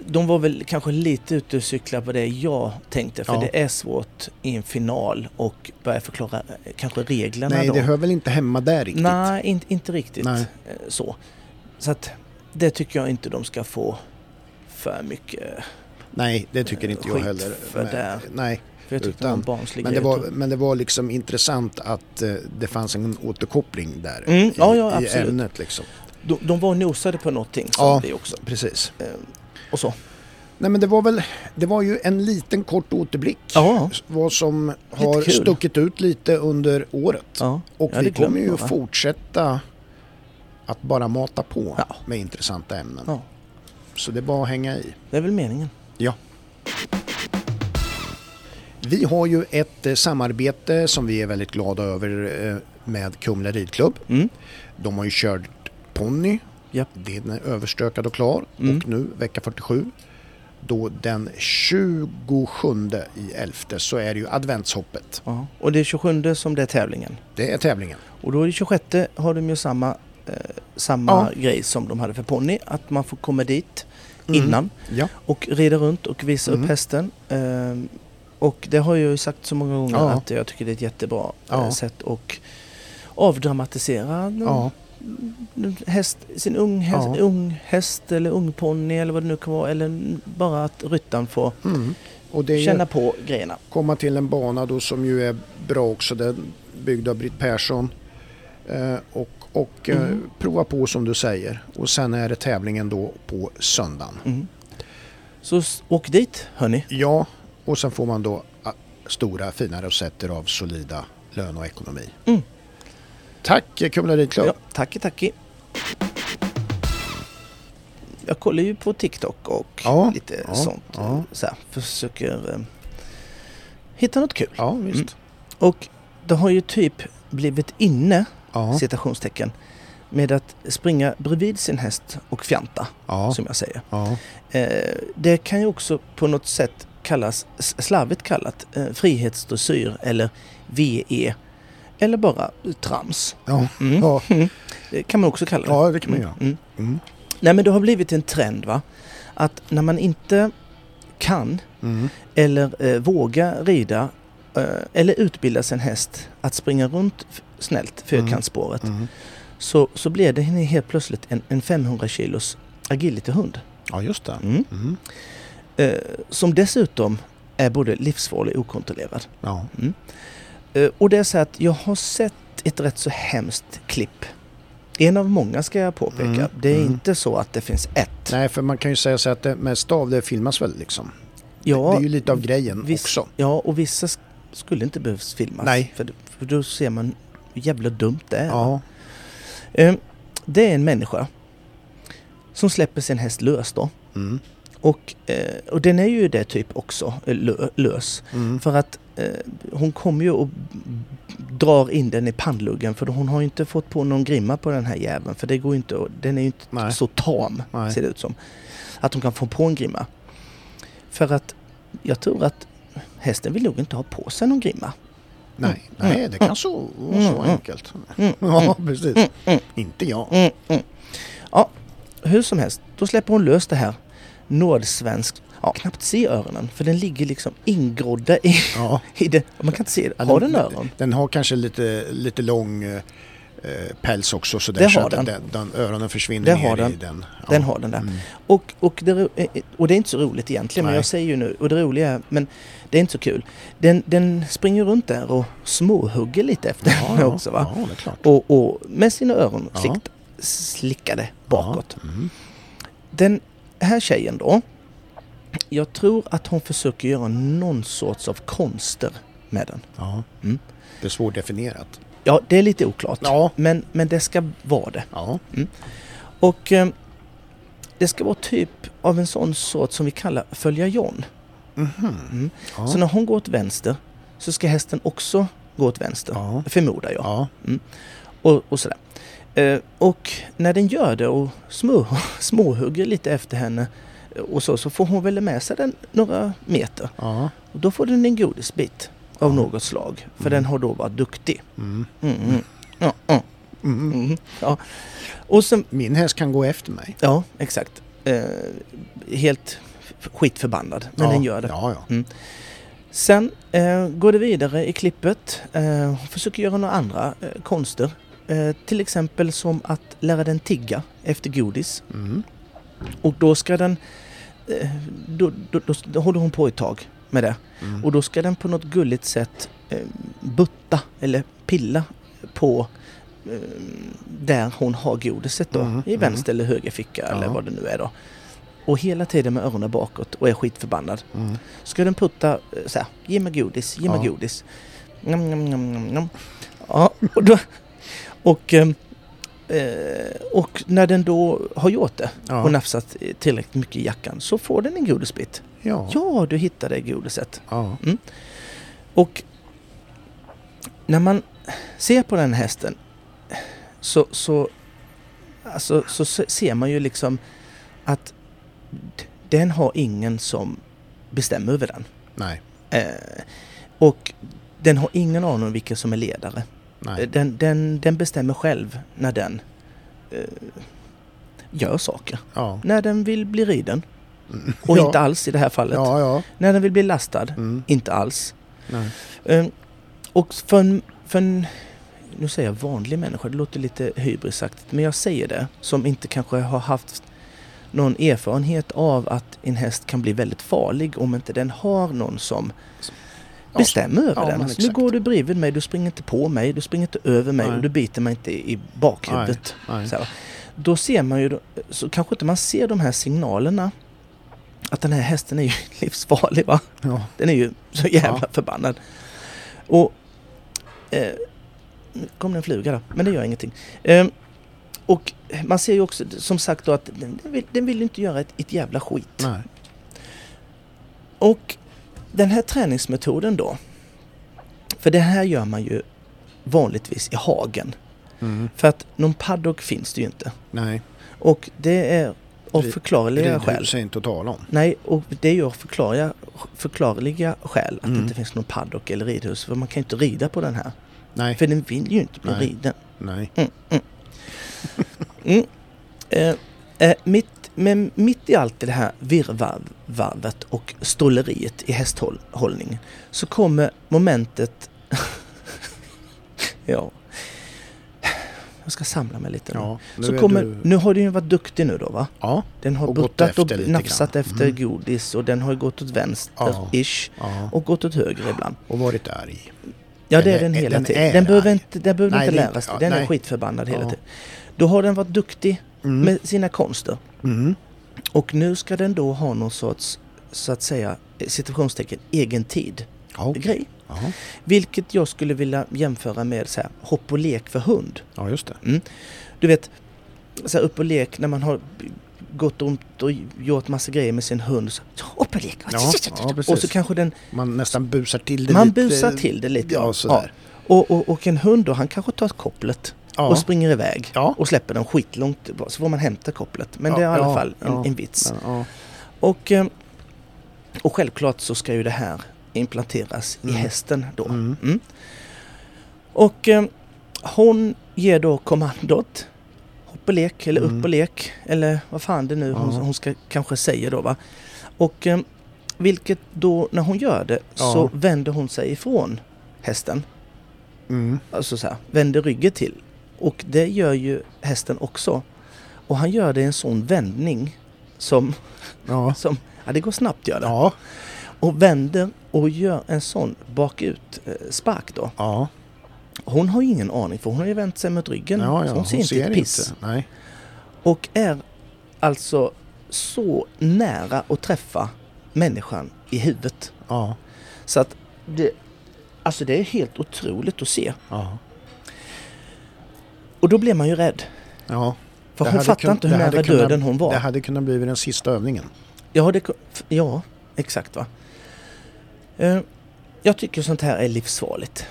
De var väl kanske lite ute och cykla på det jag tänkte för
Ja.
det är svårt i en final och börja förklara eh, kanske reglerna
Nej,
då.
det hör väl inte hemma där riktigt.
Nej, inte, inte riktigt
Nej.
eh, så. Så att det tycker jag inte de ska få för mycket.
Nej, det tycker inte jag
Skit
heller.
för det.
Men, nej,
För jag tyckte det var en
Utan-
barnslig
men det,
grej.
var, men det var liksom intressant att eh, det fanns en återkoppling där
Mm, ja,
i,
ja,
i
absolut.
ämnet. Liksom.
De, de var och nosade på någonting som
Ja.
vi också.
Precis.
Eh, Och så.
Nej men det var väl, det var ju en liten kort återblick.
Ja.
Vad som har
kul.
stuckit ut lite under året.
ja.
Och
Jag hade
vi kommer
glömt
ju
några.
fortsätta att bara mata på
Ja.
med intressanta ämnen.
Ja.
Så det är bara att hänga i.
Det är väl meningen.
Vi har ju ett eh, samarbete som vi är väldigt glada över eh, med Kumla ridklubb.
Mm.
De har ju kört ponny.
Japp.
Den är överstökad och klar.
Mm.
Och nu vecka 47 då den 27 i 11 så är det ju adventshoppet.
Ja. Och det är 27 som det är tävlingen.
Det är tävlingen.
Och då är det 26 har de ju samma, eh, samma grej som de hade för ponny. Att man får komma dit
Mm.
innan
Ja.
och rida runt och visa
Mm.
upp hästen. Ehm, och det har jag ju sagt så många gånger
Ja.
att jag tycker det är ett jättebra eh,
Ja.
sätt att avdramatisera en-
Ja.
en häst, sin ung häst,
Ja.
ung häst eller ung ponny eller vad det nu kan vara. Eller n- bara att ryttaren får
Mm. Och det är ju
känna på grejerna.
komma till en bana då som ju är bra också. Den byggd av Britt Persson. Eh, och och eh,
Mm.
prova på som du säger. Och sen är det tävlingen då på söndagen.
Mm. Så s- åk dit hörni.
Ja, och sen får man då ah, stora fina rosetter av solida lön och ekonomi.
Mm.
Tack eh, Kumla Ridklubb.
Ja, tacki tacki. Jag kollar ju på TikTok och
Ja,
lite
ja,
sånt. eh,
ja.
Så här, försöker eh, hitta något kul.
Ja, visst.
Och det har ju typ blivit inne,
Ja,
citationstecken, med att springa bredvid sin häst och fjanta,
ja,
som jag säger.
ja,
Eh, det kan ju också på något sätt kallas, s- slarvigt kallat, eh, frihetsdressyr eller VE. Eller bara trams.
ja,
Mm.
ja,
Det kan man också kalla det.
ja, det kan man göra.
Mm.
Mm.
Nej men det har blivit en trend va? Att när man inte kan
Mm.
eller eh, vågar rida eh, eller utbilda sin häst att springa runt f- snällt fyrkantsspåret
Mm.
så, så blir det helt plötsligt en, en 500 kilos agility-hund.
Ja, just det.
Mm.
Mm.
Eh, som dessutom är både livsfarlig och okontrollerad.
Ja,
Eh, och det är så att jag har sett ett rätt så hemskt klipp. En av många ska jag påpeka.
Mm,
Det är
mm.
inte så att det finns ett.
nej för man kan ju säga så att det mesta av det filmas väl liksom.
Ja,
det är ju lite av grejen
visst.
också.
Ja, och vissa sk- skulle inte behövs filmas.
Nej.
För, för då ser man hur jävla dumt det är.
Ja,
Eh, Det är en människa som släpper sin häst lös då.
mm.
Och, eh, och den är ju det typ också, eh, lö, lös.
Mm.
För att eh, hon kommer ju och drar in den i pannluggen för hon har ju inte fått på någon grimma på den här jäveln för det går ju inte, att- den är ju inte
Nej.
så tam
Nej.
ser det ut som. Att hon kan få på en grimma. För att jag tror att hästen vill nog inte ha på sig någon grimma.
Nej, nej, det kan så vara så
Mm.
enkelt.
Mm.
(laughs) Ja, precis.
mm.
Inte jag.
Mm, mm. Ja, hur som helst, då släpper hon lös det här nordsvenskt. Ja, knappt se öronen för den ligger liksom ingrodda i,
Ja.
i det. Man kan inte se
Ja,
den. Har den öron?
Den har kanske lite, lite lång eh, eh, päls också så, där,
Det
så
har
att
den.
den. Öronen försvinner
Det
ner
har
i
den.
den. Ja.
Den har den där.
Mm.
Och, och, det, ro- eh, eh, och det är inte så roligt egentligen,
Nej.
men jag säger ju nu, och det roliga är, men det är inte så kul. Den, den springer runt där och småhugger lite efter henne (laughs) också va?
Ja, det är klart.
Och, och med sina öron
Ja.
slikt, slickade bakåt.
Ja. Mm.
Den här tjejen då, jag tror att hon försöker göra någon sorts av konster med den.
Ja.
Mm.
Det är svårdefinierat.
Ja, det är lite oklart,
Ja.
men, men det ska vara det.
Ja.
Och eh, det ska vara typ av en sån sort som vi kallar följa John. Mm.
Mhm. Ja.
Så när hon går åt vänster så ska hästen också gå åt vänster,
Ja.
förmodar jag.
Ja.
Och, och sådär. Eh, och när den gör det och små, (laughs) småhugger lite efter henne eh, och så, så får hon väl med sig den några meter.
Ja.
Och då får den en godisbit av
Ja.
något slag, för den har då varit duktig.
Mm.
Mm, mm. Ja, ja,
Mm.
mm, ja. Och sen,
Min häst kan gå efter mig.
ja exakt, eh, helt skitförbannad, men
ja.
den gör det.
Ja, ja.
Sen eh, går det vidare i klippet. Eh, hon försöker göra några andra eh, konster. Eh, till exempel som att lära den tigga efter godis.
Mm.
Och då ska den... Eh, då, då, då, då håller hon på ett tag med det.
Mm.
Och då ska den på något gulligt sätt eh, butta eller pilla på eh, där hon har godiset då.
Mm,
I
mm.
vänster eller höger ficka eller
Ja.
vad det nu är då. och hela tiden med öronen bakåt och är skitförbannad.
Mm.
Ska den putta eh, så här, ge mig godis, ge mig
Ja.
godis. Nom, nom, nom, nom, nom. Ja, och, då, och, ehm, eh, och när den då har gjort det och
Ja.
nafsat eh, tillräckligt mycket i jackan så får den en godisbit.
Ja.
Ja, du hittade godiset.
Ja.
Och när man ser på den hästen så, så, alltså, så se- ser man ju liksom att d- den har ingen som bestämmer över den.
Nej.
Eh, och den har ingen aning om vilken som är ledare. Eh,
Nej.
Den, den, den bestämmer själv när den eh, gör saker.
Ja.
När den vill bli riden,
Mm.
och
ja.
inte alls i det här fallet.
Ja, ja.
När den vill bli lastad,
Mm.
inte alls.
Nej.
Eh, och för en, för en, nu säger jag vanlig människa, det låter lite hybrisaktigt, men jag säger det som inte kanske har haft någon erfarenhet av att en häst kan bli väldigt farlig om inte den har någon som
Ja,
bestämmer över
ja,
den.
men
Alltså, nu
exakt.
går du bredvid mig, du springer inte på mig, du springer inte över mig
Nej.
och du biter mig inte i bakhuvudet.
Nej.
Så här. Då ser man ju, så kanske inte man ser de här signalerna att den här hästen är ju (laughs) livsfarlig va.
Ja.
Den är ju så jävla
Ja.
förbannad. Och... Eh, nu kom det en fluga där, men det gör ingenting. Eh, och man ser ju också som sagt då att den, den, vill, den vill ju inte göra ett, ett jävla skit.
Nej.
Och den här träningsmetoden då. För det här gör man ju vanligtvis i hagen.
Mm.
För att någon paddock finns det ju inte.
Nej.
Och det är av
Ri-
förklarliga skäl.
Ridhus är inte att tala om.
Nej, och det är ju av förklarliga, förklarliga skäl att det
Mm.
inte finns någon paddock eller ridhus. För man kan ju inte rida på den här.
Nej.
För den vill ju inte bli
Nej.
riden.
Nej.
Mm. Eh, eh, mitt, men mitt i allt det här virrvarvet och ståleriet i hästhållning så kommer momentet... (laughs) ja. Jag ska samla mig lite nu.
Ja. Nu
så
är
kommer,
du...
nu har den ju varit duktig nu då va?
Ja.
Den har
Och gått
buttat och
efter lite
nafsat
grann.
efter
Mm.
godis och den har ju gått åt
Ja.
vänster-ish
ja.
och gått åt höger ibland.
Och varit arg.
Ja det är
Eller,
den
eh,
hela
den
tiden.
är
Den behöver
arg.
inte, den behöver
Nej,
inte
det är inte-
lära sig.
ja,
Den är
nej.
skitförbannad hela
Ja.
tiden. Då har den varit duktig
Mm.
med sina konster.
Mm.
Och nu ska den då ha någon sorts, så att säga, situationstecken egen tid
Ja.
grej.
Ja.
Vilket jag skulle vilja jämföra med så här, hopp och lek för hund.
ja, just det.
Du vet, så här, upp och lek när man har gått runt och gjort massa grejer med sin hund. Så, upp och lek!
Ja, ja, precis.
och så kanske den,
Man nästan busar till det
man
lite.
busar till det lite.
Ja, sådär.
Och, och, och en hund då, han kanske tar kopplet
Ja.
och springer iväg.
Ja.
Och släpper den skitlångt bort, så får man hämta kopplet. Men det är i
Ja,
alla
ja,
fall en,
ja.
en vits.
Men, ja.
Och, eh, och självklart så ska ju det här implanteras i
Mm.
hästen då.
Mm.
Mm. Och eh, hon ger då kommandot hopp och lek eller
Mm.
upp och lek eller vad fan det nu hon,
Ja.
hon ska kanske säga då va. Och eh, vilket då när hon gör det så
Ja.
vänder hon sig ifrån hästen.
Mm.
Alltså så här, vänder ryggen till. Och det gör ju hästen också. Och han gör det i en sån vändning som
Ja.
som, ja det går snabbt gör det.
Ja.
Och vänder och gör en sån bakut eh, spark då.
Ja.
Hon har ju ingen aning för hon har ju vänt sig mot ryggen.
ja,
så
ja.
hon ser inte ett piss.
inte. Nej.
Och är alltså så nära att träffa människan i huvudet.
Ja.
Så att det, alltså det är helt otroligt att se.
Ja.
Och då blir man ju rädd.
Ja.
För
Det
hon
hade
fattar
kun-
inte hur
det hade
nära
kunnat-
döden hon var.
Det hade kunnat bli den sista övningen.
Ja, det, ku- f- ja, exakt va. Eh, Jag tycker sånt här är livsfarligt.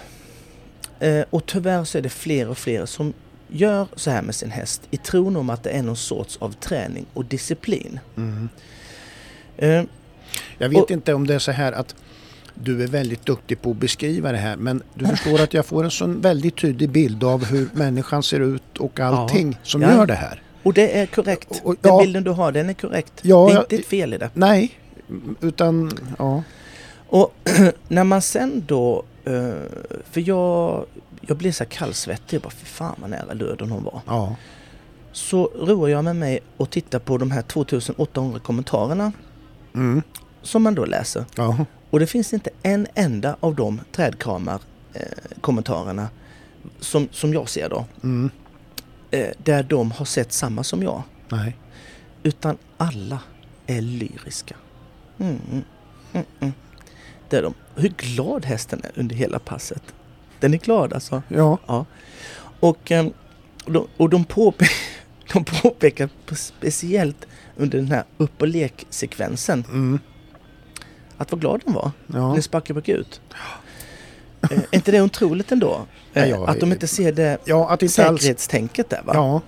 Eh, Och tyvärr så är det fler och fler som gör så här med sin häst i tron om att det är någon sorts av träning och disciplin.
Mm.
Eh,
Jag vet
Och-
inte om det är så här att du är väldigt duktig på att beskriva det här men du förstår att jag får en sån väldigt tydlig bild av hur människan ser ut och allting som
Ja.
gör det här.
Och det är korrekt.
Och- och-
Den
ja.
bilden du har, den är korrekt.
Ja,
det är
jag-
inte ett fel i det.
Nej, utan ja.
Och (clears throat) när man sen då... eh, För jag, jag blev så här kallsvettig. Jag bara, fy fan vad nära döden hon var.
ja.
Så roar jag med mig och tittar på de här 2800 kommentarerna
Mm.
som man då läser.
ja.
Och det finns inte en enda av de trädkramar eh, kommentarerna som, som jag ser då,
Mm.
eh, där de har sett samma som jag.
Nej.
Utan alla är lyriska. Mm, mm, mm, mm. Det är de. Hur glad hästen är under hela passet. Den är glad alltså.
Ja.
Och, eh, och de, och de, påpe- (laughs) de påpekar på- speciellt under den här upp och lek-sekvensen
Mm.
att vad glad den var
Ja.
när Sparke back ut. Eh, är inte det otroligt ändå? Eh,
Ja, jag-
att de inte ser det
ja, att inte alls...
säkerhetstänket där va?
Ja.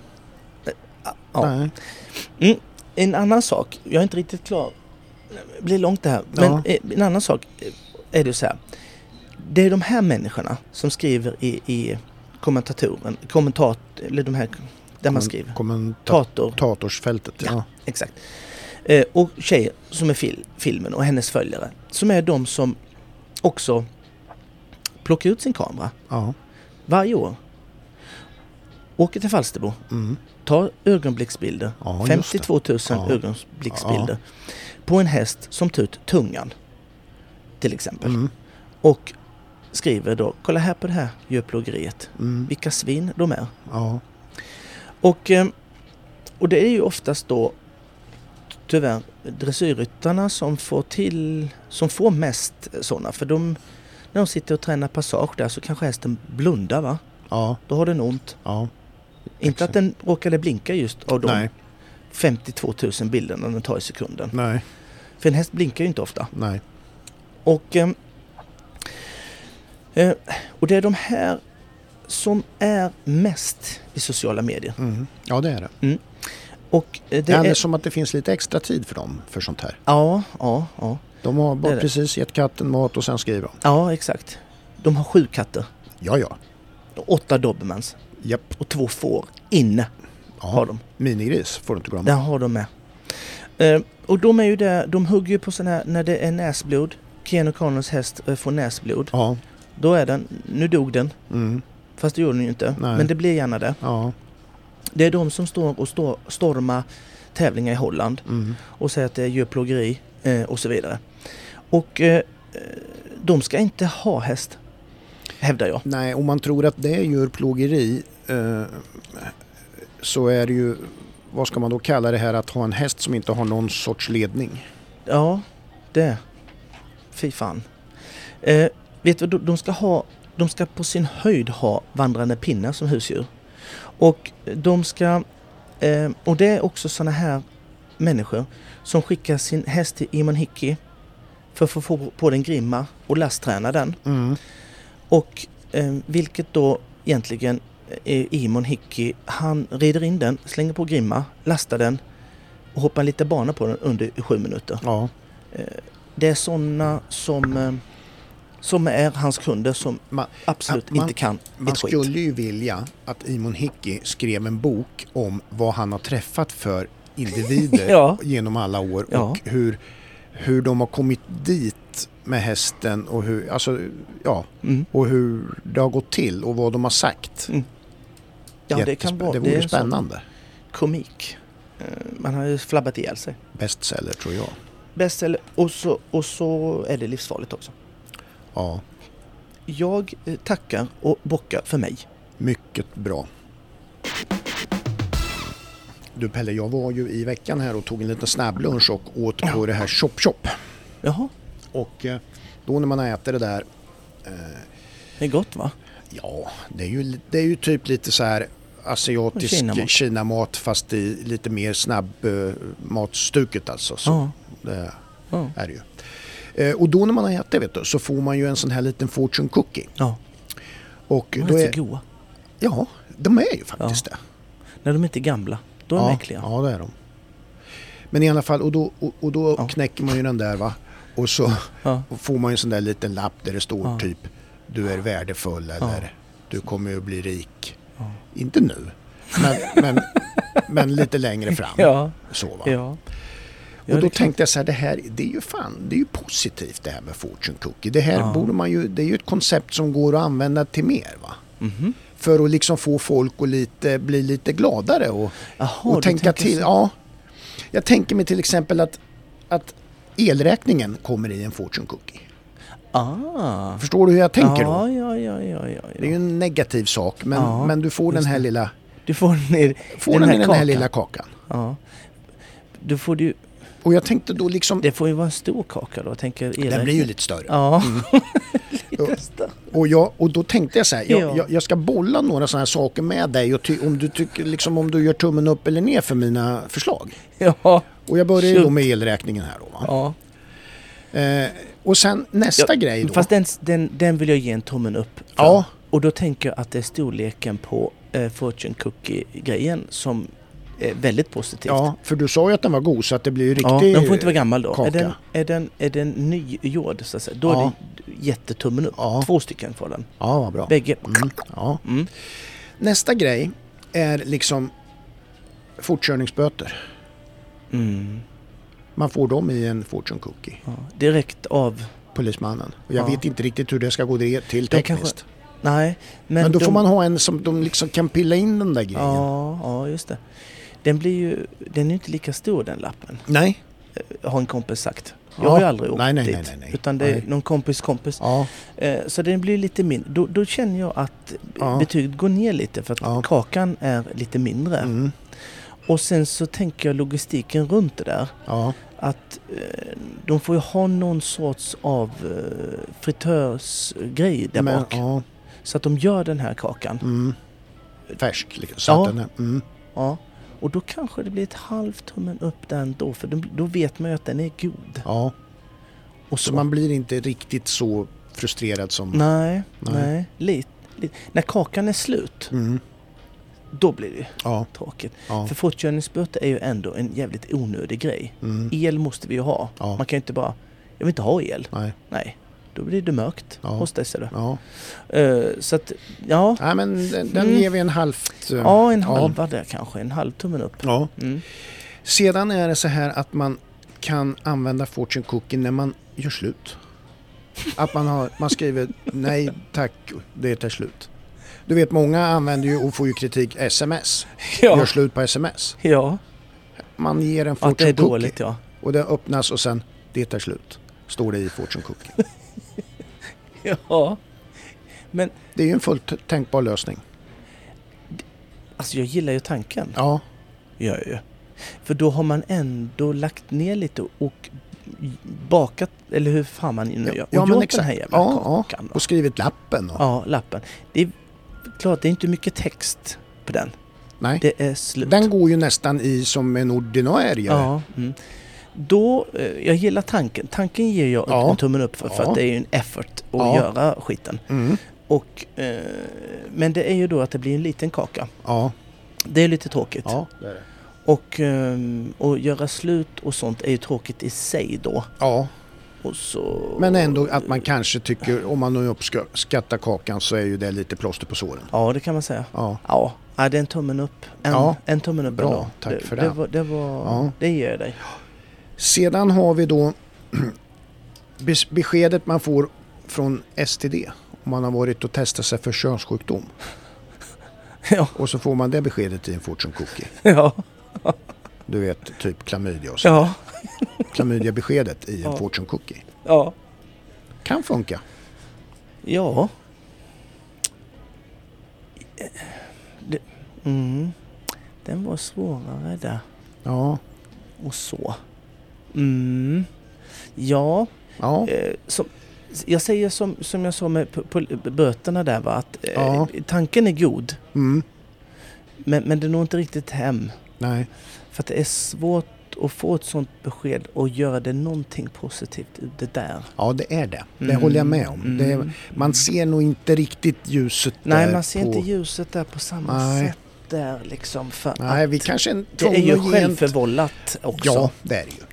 Ja.
Nej.
En annan sak, jag är inte riktigt klar. Det blir långt det här. Men
Ja.
eh, en annan sak eh, är det så här. Det är de här människorna som skriver i, i kommentatoren, kommentat, eller de här där
Mm.
man skriver.
Kommentator.
Tator,
Kommentatorsfältet. Ja.
exakt. Eh, och tjejer som är fil, filmen och hennes följare. Som är de som också plockar ut sin kamera
Ja.
varje år. Åker till Falsterbo,
Mm.
tar ögonblicksbilder.
Ja, just det.
52 000
Ja.
ögonblicksbilder. På en häst som tar ut tungan. Till exempel.
Mm.
Och skriver då, kolla här på det här djurplågeriet.
Mm.
Vilka svin de är.
Ja.
Och, eh, och det är ju oftast då tyvärr dressyrryttarna som får till, som får mest sådana. För de, när de sitter och tränar passage där så kanske hästen blundar va?
Ja.
Då har den ont.
Ja.
Inte att den råkade blinka just av de
Nej.
52 000 bilderna den tar i sekunden.
Nej.
För en häst blinkar ju inte ofta.
Nej.
Och, ehm, eh, och det är de här som är mest i sociala medier.
Mm. Ja, det är det.
Och eh,
Det
det
är,
är...
som att det finns lite extra tid för dem för sånt här.
Ja, ja, ja.
De har
Det är
bara
det.
precis gett katten mat och sen skriver de.
Ja, exakt. De har sju katter,
Ja, ja.
åtta dobermans
Japp.
och två får inne har
Ja.
de.
Minigris får du inte glömma.
Där har de med. Eh, och de är ju där, de hugger ju på sådana här, när det är näsblod. Ken O'Connors häst eh, får näsblod.
Ja.
Då är den, nu dog den.
Mm.
Fast det gjorde den ju inte.
Nej.
Men det blir gärna det.
Ja.
Det är de som står och står, stormar tävlingar i Holland
Mm.
och säger att det är djurplågeri eh, och så vidare. Och eh, eh, de ska inte ha häst, hävdar jag.
Nej, om man tror att det är djurplågeri eh, så är det ju, vad ska man då kalla det här att ha en häst som inte har någon sorts ledning?
Ja, det. Fy fan. Eh, vet du, de de ska, ha, de ska på sin höjd ha vandrande pinnar som husdjur. Och de ska... Eh, och det är också sådana här människor som skickar sin häst till Iman Hickey för att få- få på den grimma och lastträna den.
Mm.
Och eh, vilket då egentligen eh, Imon Hickey, han rider in den, slänger på grimma, lastar den och hoppar lite bana på den under sju minuter.
Ja.
Det är sådana som, eh, som är hans kunder som
Man,
absolut
Ja, man-
inte
(laughs)
kan
man
ett skit.
skulle ju vilja att Imon Hickey skrev en bok om vad han har träffat för individer
Ja.
genom alla år
Ja.
och hur, hur de har kommit dit med hästen och hur, alltså, ja,
Mm.
och hur det har gått till och vad de har sagt.
Ja, det,
Jättespä-
kan vara,
det vore
är en sån
spännande.
komik. Eh, Man har ju flabbat ihjäl sig.
Bestseller tror jag.
Bestseller och så, och så är det livsfarligt också.
Ja,
Jag eh, tackar och bockar för mig.
mycket bra. Du Pelle, jag var ju i veckan här och tog en liten snabblunch och åt på det här Chop Chop.
Jaha,
Och eh, då när man äter det där eh,
det är gott va?
Ja, det är ju, det är ju typ lite så här asiatisk
Kinamat.
Kinamat, fast i lite mer snabbmatstuket alltså. Så
Ja.
Det
Ja.
är det ju. Eh, Och då när man har ätit det, vet du, så får man ju en sån här liten fortune cookie.
ja.
Och
De är
då
rätt
är,
så goa.
ja, de är ju faktiskt det.
När de inte är gamla, då är de
Ja,
äckliga.
ja, det är de. Men i alla fall, och då, och, och då
Ja.
knäcker man ju den där va. Och så
Ja.
får man ju en sån där liten lapp där det står
Ja.
typ du är värdefull eller
Ja.
du kommer att bli rik.
Ja.
Inte nu, men, men, men lite längre fram.
(laughs) Ja.
Så, va?
ja. Ja, det
och då
är klart.
tänkte jag så här, det här det är ju fan, det är ju positivt det här med fortune cookie. Det här
Ja.
borde man ju, det är ju ett koncept som går att använda till mer va.
Mhm.
För att liksom få folk att lite, bli lite gladare och,
Jaha,
och
du
tänka
tänker
till.
så.
Ja, jag tänker mig till exempel att, att elräkningen kommer i en fortune cookie.
Ah.
Förstår du hur jag tänker
ja,
då?
Ah. Ja, ja, ja, ja,
Det är ju
ja.
en negativ sak men,
Ja,
men du får den
just
här
det.
lilla,
Du får ner
får den, i den här
kakan.
lilla kakan.
Ja. Du får du
Och jag tänkte då liksom...
Det får ju vara en stor kaka då, tänker Erik.
Den blir ju lite Mm. större.
Ja. (laughs)
(laughs)
Lite större.
Och, jag, och då tänkte jag så här,
Ja.
jag, jag, jag ska bolla några sådana här saker med dig och ty, om, du tycker, liksom, om du gör tummen upp eller ner för mina förslag.
ja.
Och jag börjar ju då
Shoot.
med elräkningen här då. Va?
ja.
Eh, och sen nästa
Ja,
grej då.
Fast den, den, den vill jag ge en tummen upp för.
Ja.
Och då tänker jag att det är storleken på eh, Fortune Cookie-grejen som är väldigt positivt.
ja, för du sa ju att den var god så att det blir ju riktigt...
Ja, den får inte vara gammal då. Är
kaka.
den, är, den, är den nygjord så att säga, då är
Ja.
det jättetummen upp.
Ja.
Två stycken får den.
Ja, vad bra.
Bägge.
Mm, ja.
Mm.
Nästa grej är liksom fortkörningsböter.
Mm.
Man får dem i en fortune cookie,
Ja. Direkt av...
polismannen. Och jag
Ja.
vet inte riktigt hur det ska gå det till
De
tekniskt.
kanske- Nej, men...
Men, då
de-
får man ha en som de liksom kan pilla in den där grejen.
Ja, ja, just det. Den blir ju... Den är ju inte lika stor den lappen, eh,
Nej.
har en kompis sagt. Jag
Ja.
har ju aldrig åkt
Nej, nej,
dit.
nej, nej, nej.
Utan det är
Nej.
någon kompis kompis.
Ja.
Eh, Så den blir lite mindre. Då, då känner jag att
Ja.
betyget går ner lite för att
Ja.
kakan är lite mindre.
Mm.
Och sen så tänker jag logistiken runt det där.
Ja.
att eh, de får ju ha någon sorts av eh, fritörsgrej där
Men,
bak.
ja.
Så att de gör den här kakan.
Mm. Färsk liksom. Så
Ja.
att den är, mm.
Ja. Och då kanske det blir ett halvt tummen upp där ändå för de, då vet man ju att den är god.
ja.
Och
Så man blir inte riktigt så frustrerad som...
Nej, nej.
Nej.
Lite, lite. När kakan är slut,
Mm.
då blir det ju
Ja.
tråkigt.
Ja.
För fortkörningsböter är ju ändå en jävligt onödig grej.
Mm.
El måste vi ju ha.
Ja.
Man kan ju inte bara, jag vill inte ha el.
Nej.
Nej, då blir det mörkt
Ja.
hos dig ser du.
Ja.
Eh, så att, ja.
Nej men den, den
Mm.
ger vi en halvt... eh,
Ja, en
Ja.
halva där kanske. En halv tummen upp.
ja.
Mm.
Sedan är det så här att man kan använda fortune cookie när man gör slut. Att man, har, man skriver nej tack, det tar slut. Du vet många använder ju och får ju kritik sms. Gör
Ja.
slut på sms.
ja,
Man ger en
att det
fortune
är
cookie
dåligt ja.
och den öppnas och sen det tar slut. Står det i fortune cookie.
ja. Men
Det är ju en fullt tänkbar lösning.
alltså jag gillar ju tanken.
Ja,
Gör jag ju. För då har man ändå lagt ner lite och bakat, eller hur fan man nu gör. Och
ja, men
gjort den
exakt.
här jävla
Ja, ja.
kakan. då.
och skrivit lappen. Och,
Ja, lappen. Det är klart, det är inte mycket text på den.
nej.
Det är slut.
Den går ju nästan i som en ordinarie.
Ja. Mm. Då, eh, jag gillar tanken. Tanken ger jag
Ja.
en tummen upp för, för
Ja.
att det är ju en effort att
Ja.
göra skiten.
Mm.
Och, eh, men det är ju då att det blir en liten kaka.
Ja,
Det är lite tråkigt.
ja, det är det.
Och ehm, och göra slut och sånt är ju tråkigt i sig då.
Ja,
Och så...
Men eh, ändå att man kanske tycker, om man nu uppskattar kakan så är ju det lite plåster på såren.
Ja, det kan man säga.
Ja,
Ja, ja det är en tummen upp. En,
Ja.
en tummen upp
Bra,
ändå.
tack
det,
för
Det
det.
var, det, var,
Ja.
det ger jag dig.
sedan har vi då (clears throat) bes- beskedet man får från STD om man har varit och testat sig för könssjukdom.
Ja.
Och så får man det beskedet i en fortune cookie.
Ja.
Du vet, typ klamydia och så.
Ja.
Klamydia-beskedet i en
Ja.
fortune cookie.
Ja.
Kan funka.
Ja. Det, mm. Den var svårare där.
Ja,
och så. Mm. Ja,
ja,
eh, som, jag säger som, som jag sa med p- pol- böterna där va, att eh,
Ja.
tanken är god.
mm,
Men, men det når inte riktigt hem.
nej,
För att det är svårt att få ett sånt besked och göra det någonting positivt ur det där.
ja det är det. Det
Mm,
håller jag med om. Det
mm.
är, man ser nog inte riktigt ljuset
Nej,
där
man ser
på...
inte ljuset där på samma
Nej.
sätt där liksom. För
Nej,
att
vi kanske är en
det är ju
tvungna att ge en-
självförvållat också.
Ja, det är det ju.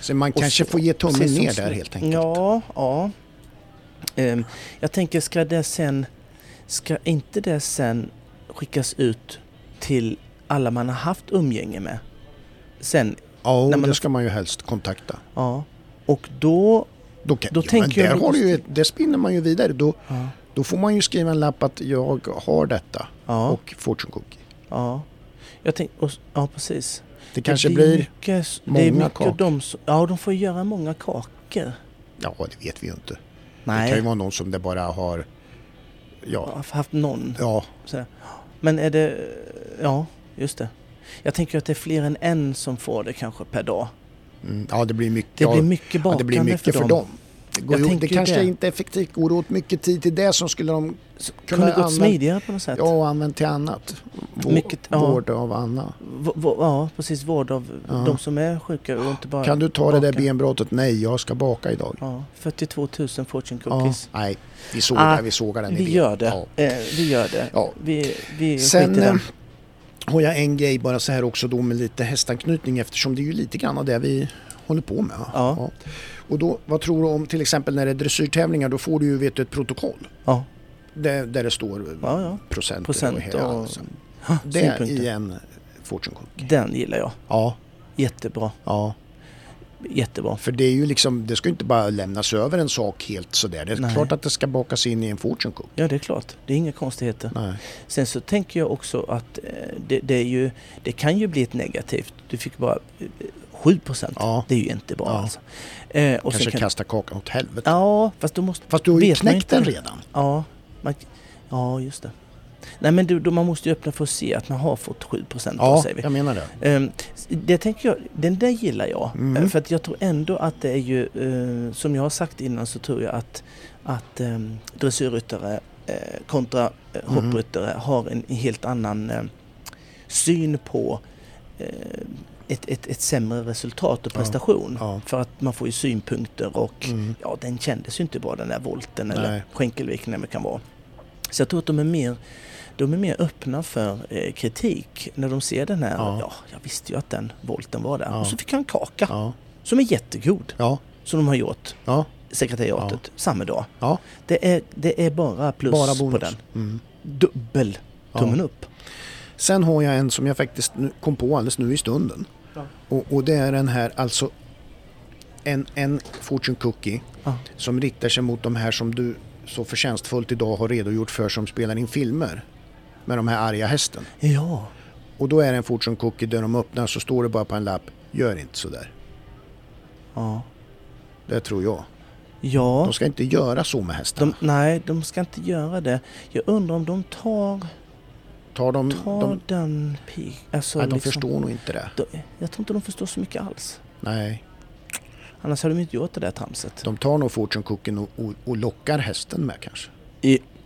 Så man
Och
kanske
så-
får ge tummen
precis som
ner där
slut.
helt enkelt.
Ja, ja. Ehm, jag tänker, ska det sen... Ska inte det sen skickas ut till alla man har haft umgänge med? Sen,
ja och
Nej, men-
det ska man ju helst kontakta.
ja. Och då...
Då, kan,
Då
jo,
tänker
men
jag
där har du ju,
logistik.
ett- det spinner man ju vidare. Då,
Ja.
då får man ju skriva en lapp att jag har detta
Ja.
och fortune cookie.
ja. Jag tänk, och, s- ja, precis.
Det kanske
det är
blir...
mycket, s- det är
många
mycket
kakor.
De, som- ja, de får göra många kakor.
Ja, det vet vi ju inte. Det kan ju
Nej,
vara någon som det bara har...
jag
Ja,
har haft någon.
ja,
Sådär. Men är det... Ja, just det. Jag tänker att det är fler än en som får det kanske per dag.
Mm, ja, det blir mycket,
Det
ja,
blir mycket
ja,
bakande
det blir mycket för dem. Det,
Jag
går ju- det
tänker ju
kanske
det.
inte effektivt går åt mycket tid till det som skulle de
Så
kunna
Kunde gått
använt-
smidigare på något sätt.
ja, använt till annat. Vår,
Mycket- ja.
Vård av Anna.
V- v- ja, precis. Vård av
Ja.
de som är sjuka och inte bara...
Kan du ta det där
baka.
benbrottet? Nej, jag ska baka idag.
Ja, 42 000 fortune
Ja,
cookies.
nej, vi sågar,
Ah,
vi sågar den
vi
idén.
gör det.
Ja.
Eh, vi gör det.
Ja.
Vi, vi
Sen
skiter i den.
eh, har jag en grej bara så här också då med lite hästanknytning eftersom det är ju lite grann av det vi håller på med.
Ja.
Och då, vad tror du om till exempel när det är dressyrtävlingar då får du ju vet du, ett protokoll
Ja,
där, där det står eh,
ja, ja.
procent,
Procent
här,
och...
alltså.
Ha,
Det i
Ah, synpunkter.
en fortune cookie.
Den gillar jag.
Ja,
Jättebra.
ja,
Jättebra.
för det är ju liksom, det ska ju inte bara lämnas över en sak helt sådär. Det är
Nej.
klart att det ska bakas in i en fortune cookie.
Ja, det är klart. Det är inga konstigheter.
Nej.
Sen så tänker jag också att eh, det, det, är ju, det kan ju bli ett negativt. Du fick bara eh, 7 procent.
Ja,
Det är ju inte bra
Ja.
alltså. Eh, och
kanske
sen kan,
kasta kakan åt helvete.
ja, fast då måste...
Fast du har ju
Vet man
knäckt den
inte.
redan.
Ja, man, ja just det. Nej men du, då man måste ju öppna för att se att man har fått 7 procent.
Ja,
säger vi.
jag menar det.
Ehm, s- Det tänker jag, den där gillar jag.
Mm.
Eh, För att jag tror ändå att det är ju, eh, som jag har sagt innan så tror jag att, att ehm, dressyrryttare eh, kontra eh,
Mm.
hoppryttare har en helt annan eh, syn på eh, ett, ett, ett sämre resultat och
Ja.
prestation.
Ja.
För att man får ju synpunkter och
Mm.
ja, den kändes ju inte bra den där volten
Nej.
eller skänkelviken eller vad det kan vara. Så jag tror att de är mer, de är mer öppna för eh, kritik när de ser den här,
Ja.
ja. jag visste ju att den volten var där.
Ja.
Och så fick han kaka
Ja,
som är jättegod,
ja,
som de har gjort,
ja.
sekretariatet, samma dag.
Ja.
Det, är, det är bara plus
Bara
på
bonus.
den.
Mm.
Dubbel tummen
Ja.
upp.
Sen har jag en som jag faktiskt nu- kom på alldeles nu i stunden.
Ja.
Och, och det är den här alltså en, en fortune cookie
Ja.
som riktar sig mot de här som du så förtjänstfullt idag har redogjort för som spelar in filmer med de här arga hästen.
ja,
Och då är det en fortune cookie där de öppnar så står det bara på en lapp, gör inte sådär.
ja.
Det tror jag.
Ja,
De ska inte göra så med hästarna.
de, nej, de ska inte göra det. Jag undrar om de tar,
Tar de,
tar liksom-
de,
den pik... Alltså,
nej, de
liksom-
förstår nog inte det.
De, jag tror inte de förstår så mycket alls.
Nej,
Annars hade de inte gjort det där tramset.
de tar nog fortune cookien och, och, och lockar hästen med kanske.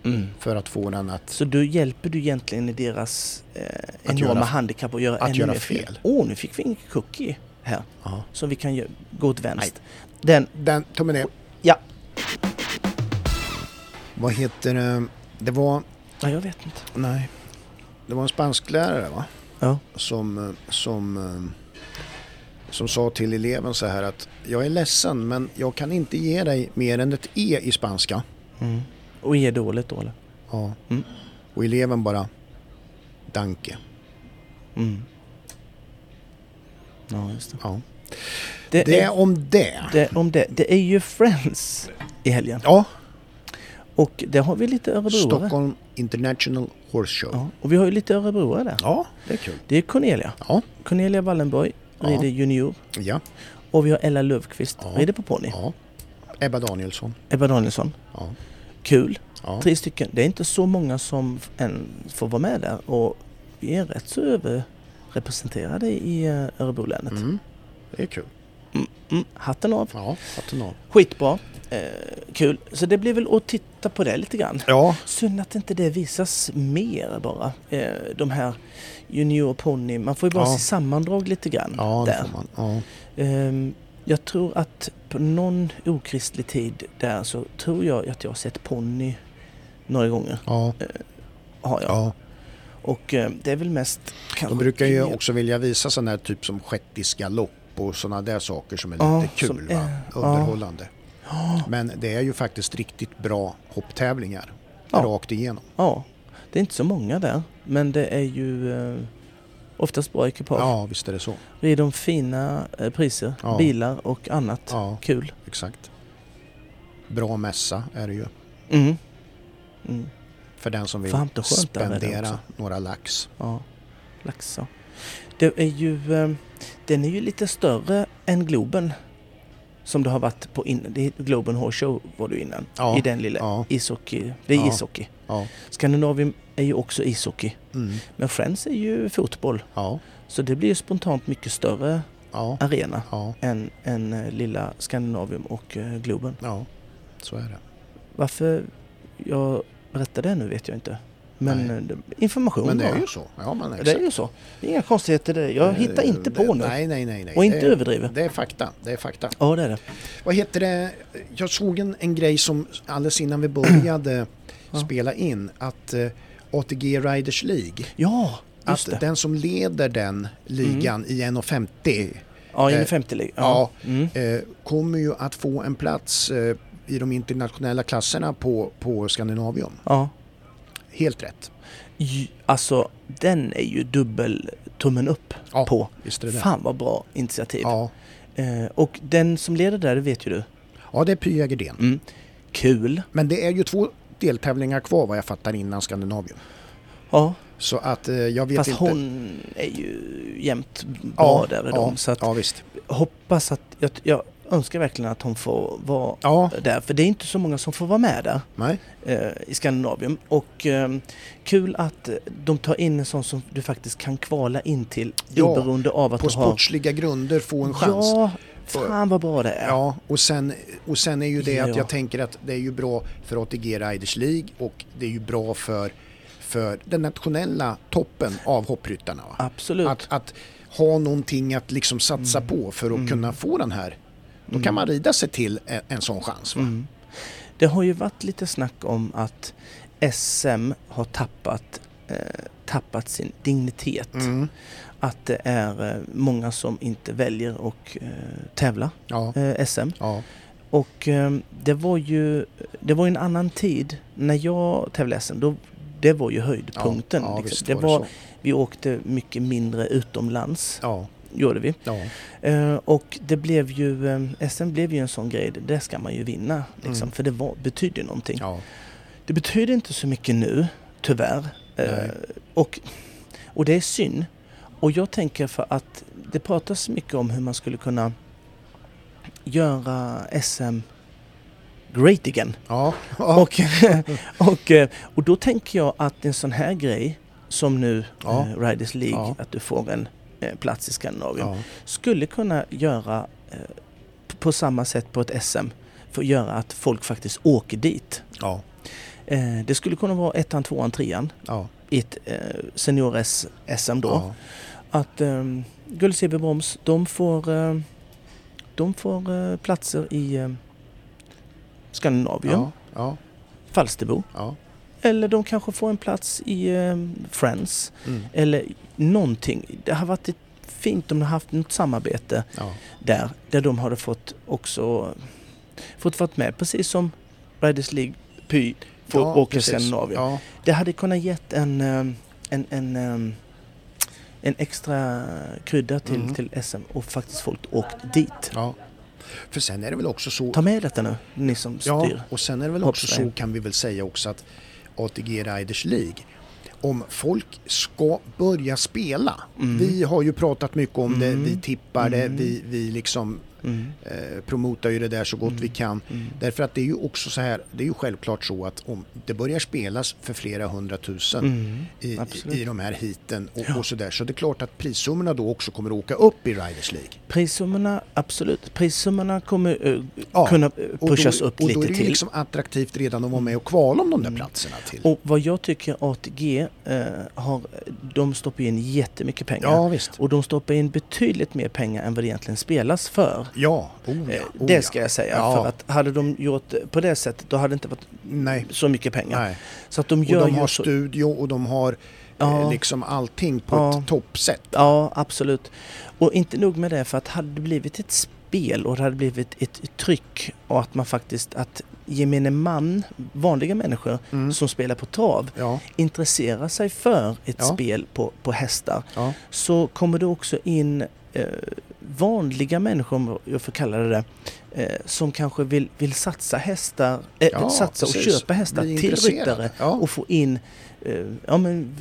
Mm.
För att få den att
Så då hjälper du egentligen i deras eh, enorma
göra-
handikapp att göra
att
ännu
göra
mer
fel.
Åh, nu fick vi en cookie här
Ja.
som vi kan gö- gå åt vänster. Den,
Den, tummen ner.
ja.
Vad heter det? Det var,
ja, jag vet inte.
nej. Det var en spansklärare va?
Ja.
Som, eh, som, eh, som sa till eleven så här att jag är ledsen men jag kan inte ge dig mer än ett E i spanska.
Mm. Och är dåligt då eller?
Ja.
Mm.
Och eleven bara, danke.
Mm. Ja, just det.
Ja.
Det,
Det
är,
är om det.
det, om det, det är ju Friends i helgen.
Ja,
Och det har vi lite örebroare.
Stockholm International Horse Show.
Ja, och vi har ju lite örebroare där.
Ja, det är kul.
Det är Cornelia.
Ja,
Cornelia Wallenberg
Ja.
rider junior
ja,
och vi har Ella Löfqvist
Ja.
rider på ponny.
ja. Ebba Danielsson.
Ebba Danielsson.
Ja,
Kul.
ja.
Tre stycken. Det är inte så många som f- än får vara med där och vi är rätt så överrepresenterade i eh, Örebrolänet.
Mm. Det är kul.
Mm, hatten av.
Ja, hatten av.
Skitbra. Eh, kul. Så det blir väl att titta på det lite grann.
Ja,
Synd att inte det visas mer bara. Eh, de här junior och ponny. Man får ju bara
Ja.
se sammandrag lite grann
ja det
där.
får man. Ja.
Ehm, Jag tror att på någon okristlig tid där så tror jag att jag har sett ponny några gånger.
Ja,
Har jag.
ja.
Och eh, det är väl mest kanske...
De brukar ju också vilja visa sådana här typ som shettiska lopp och sådana där saker som är lite
Ja,
kul
som
va?
är- ja.
Underhållande. Men det är ju faktiskt riktigt bra hopptävlingar
Ja.
rakt igenom.
Ja. Det är inte så många där. Men det är ju eh, oftast bra ekipage.
Ja, visst är det så.
Rider om fina eh, priser.
Ja.
Bilar och annat.
Ja,
Kul.
exakt. Bra mässa är det ju.
Mm. Mm.
För den som vill
Fan, det är skönt där med det
spendera
också.
några lax.
Ja. Laxå. Det är ju... eh, Den är ju lite större än Globen. Som det har varit på innan. Det är Globen Horse Show var du innan.
Ja.
I den lilla
Ja,
ishockey. Det är
Ja.
ishockey.
ja,
Skandinavien är ju också ishockey.
mm,
Men Friends är ju fotboll.
ja,
Så det blir ju spontant mycket större
Ja,
arena
ja,
än, än eh, lilla Skandinavium och eh, Globen.
ja. Så är det.
Varför jag berättar det nu vet jag inte. Men
Nej.
eh, det- information
Men det är
bara.
ju så. Ja, men
det
exakt.
är ju så. Det är inga konstigheter det. Jag hittar
Eh,
inte på
det-
nu.
Nej, nej, nej. nej.
Och inte
det,
överdriver.
Det är fakta. Det är fakta.
Ja, det är det.
Vad heter det? Jag såg en, en grej som alldeles innan vi började
(clears throat) Ja.
spela in. Att eh, ATG Riders League.
Ja, just
Att
det. Mm.
den som leder den ligan i 1,50
Ja, in i
eh,
50 lig.
ja.
Mm.
eh, kommer ju att få en plats eh, i de internationella klasserna på, på Skandinavium.
ja.
Helt rätt.
J- Alltså, den är ju dubbel tummen upp
Ja,
på.
Visst är det det?
Fan vad bra initiativ.
Ja.
Eh, och den som leder där, det vet ju du.
ja, det är Pia Gerdén.
Mm. Kul.
Men det är ju två deltävlingar kvar vad jag fattar innan Skandinavium.
Ja,
Så att eh, jag vet
fast
inte.
hon är ju jämt bra där i dem. Så att
ja, visst.
hoppas att... Jag, jag önskar verkligen att hon får vara
Ja,
där. För det är inte så många som får vara med där
nej.
eh, i Skandinavium. Och eh, kul att de tar in en sån som du faktiskt kan kvala in till
Ja,
oberoende av att
På
du har...
sportsliga grunder få en chans.
Ja, fan vad bra det är.
Ja, och sen, och sen är ju det
Ja.
att jag tänker att det är ju bra för ATG Riders League och det är ju bra för, för den nationella toppen av hoppryttarna. Va?
Absolut. Mm.
Att, att ha någonting att liksom satsa på för att kunna få den här. Då kan man rida sig till en, en sån chans. Va?
Mm. Det har ju varit lite snack om att SM har tappat, eh, tappat sin dignitet.
Mm.
Att det är eh, många som inte väljer och eh, tävla
Ja,
eh, SM.
ja,
Och eh, det var ju det var ju en annan tid. När jag tävlade SM, då, det var ju höjdpunkten.
Ja, ja,
liksom.
visst
det
var det
var,
så.
vi åkte mycket mindre utomlands,
ja,
gjorde vi.
ja,
Eh, och det blev ju, eh, SM blev ju en sån grej, det ska man ju vinna. Liksom,
Mm.
För det var, betydde ju någonting.
ja,
Det betyder inte så mycket nu, tyvärr. Eh,
Nej.
och, och det är synd. Och jag tänker för att det pratas mycket om hur man skulle kunna göra SM great again.
ja,
Och, (laughs) och, eh, och då tänker jag att en sån här grej som nu
Ja.
eh, Riders League,
Ja.
att du får en eh, plats i Skandinavien,
ja,
skulle kunna göra eh, p- på samma sätt på ett SM för att göra att folk faktiskt åker dit.
ja,
Eh, det skulle kunna vara ettan, tvåan, trean
ja,
i ett eh, senior-SM då.
ja,
Att eh, Gullis CB Broms, de får, eh, de får eh, platser i eh, Skandinavien,
ja, ja,
Falsterbo.
ja,
Eller de kanske får en plats i eh, Friends.
mm,
Eller någonting. Det har varit ett fint om de har haft något samarbete
ja,
där. Där de hade fått också fått vara med precis som Riders League Py får
Ja,
åka
precis.
Skandinavien.
Ja,
Det hade kunnat gett en, eh, en, en, eh, en extra krydda till,
Mm.
till SM och faktiskt folk åkt dit.
ja. För sen är det väl också så
Ta med detta nu, ni som
Ja,
styr.
och sen är det väl
Hoppas
också
det.
så kan vi väl säga också att ATG Riders League, om folk ska börja spela,
Mm.
vi har ju pratat mycket om
Mm.
det, vi tippar
Mm.
det, vi, vi liksom
Mm.
eh, promotar ju det där så gott
Mm.
vi kan.
Mm.
Därför att det är ju också så här, det är ju självklart så att om det börjar spelas för flera hundratusen
Mm.
i,
absolut.
i de här hiten och,
Ja.
och sådär, så det är klart att prissummorna då också kommer att åka upp i Riders League.
Prissummorna, absolut. Prissummorna kommer eh,
Ja,
kunna eh,
Och då-
pushas upp
och
lite
då är det ju
till. Mm.
liksom attraktivt redan att vara med och kvala om de där platserna till.
Och vad jag tycker ATG eh, har, de stoppar in jättemycket pengar.
Ja, visst.
Och de stoppar in betydligt mer pengar än vad det egentligen spelas för.
Ja, oh ja,
Eh,
oh ja.
det ska jag säga.
Ja.
För att hade de gjort eh, på det sättet då hade det inte varit
Nej.
så mycket pengar.
Nej.
Så att de
Och
gör
de
ju
har
så...
studio och de har
Ja.
eh, liksom allting på
Ja.
ett toppsätt.
Ja, absolut. Och inte nog med det, för att hade det blivit ett spel och det hade blivit ett tryck och att man faktiskt, att gemene man, vanliga människor
Mm.
som spelar på trav,
Ja,
intresserar sig för ett
Ja.
spel på, på hästar,
ja,
så kommer det också in eh, vanliga människor, om jag får kalla det det, eh, som kanske vill, vill satsa hästar, eh,
Ja,
satsa och
precis.
köpa hästar
Bli
till
intresserade.
ryttare
Ja.
och få in, eh, ja men,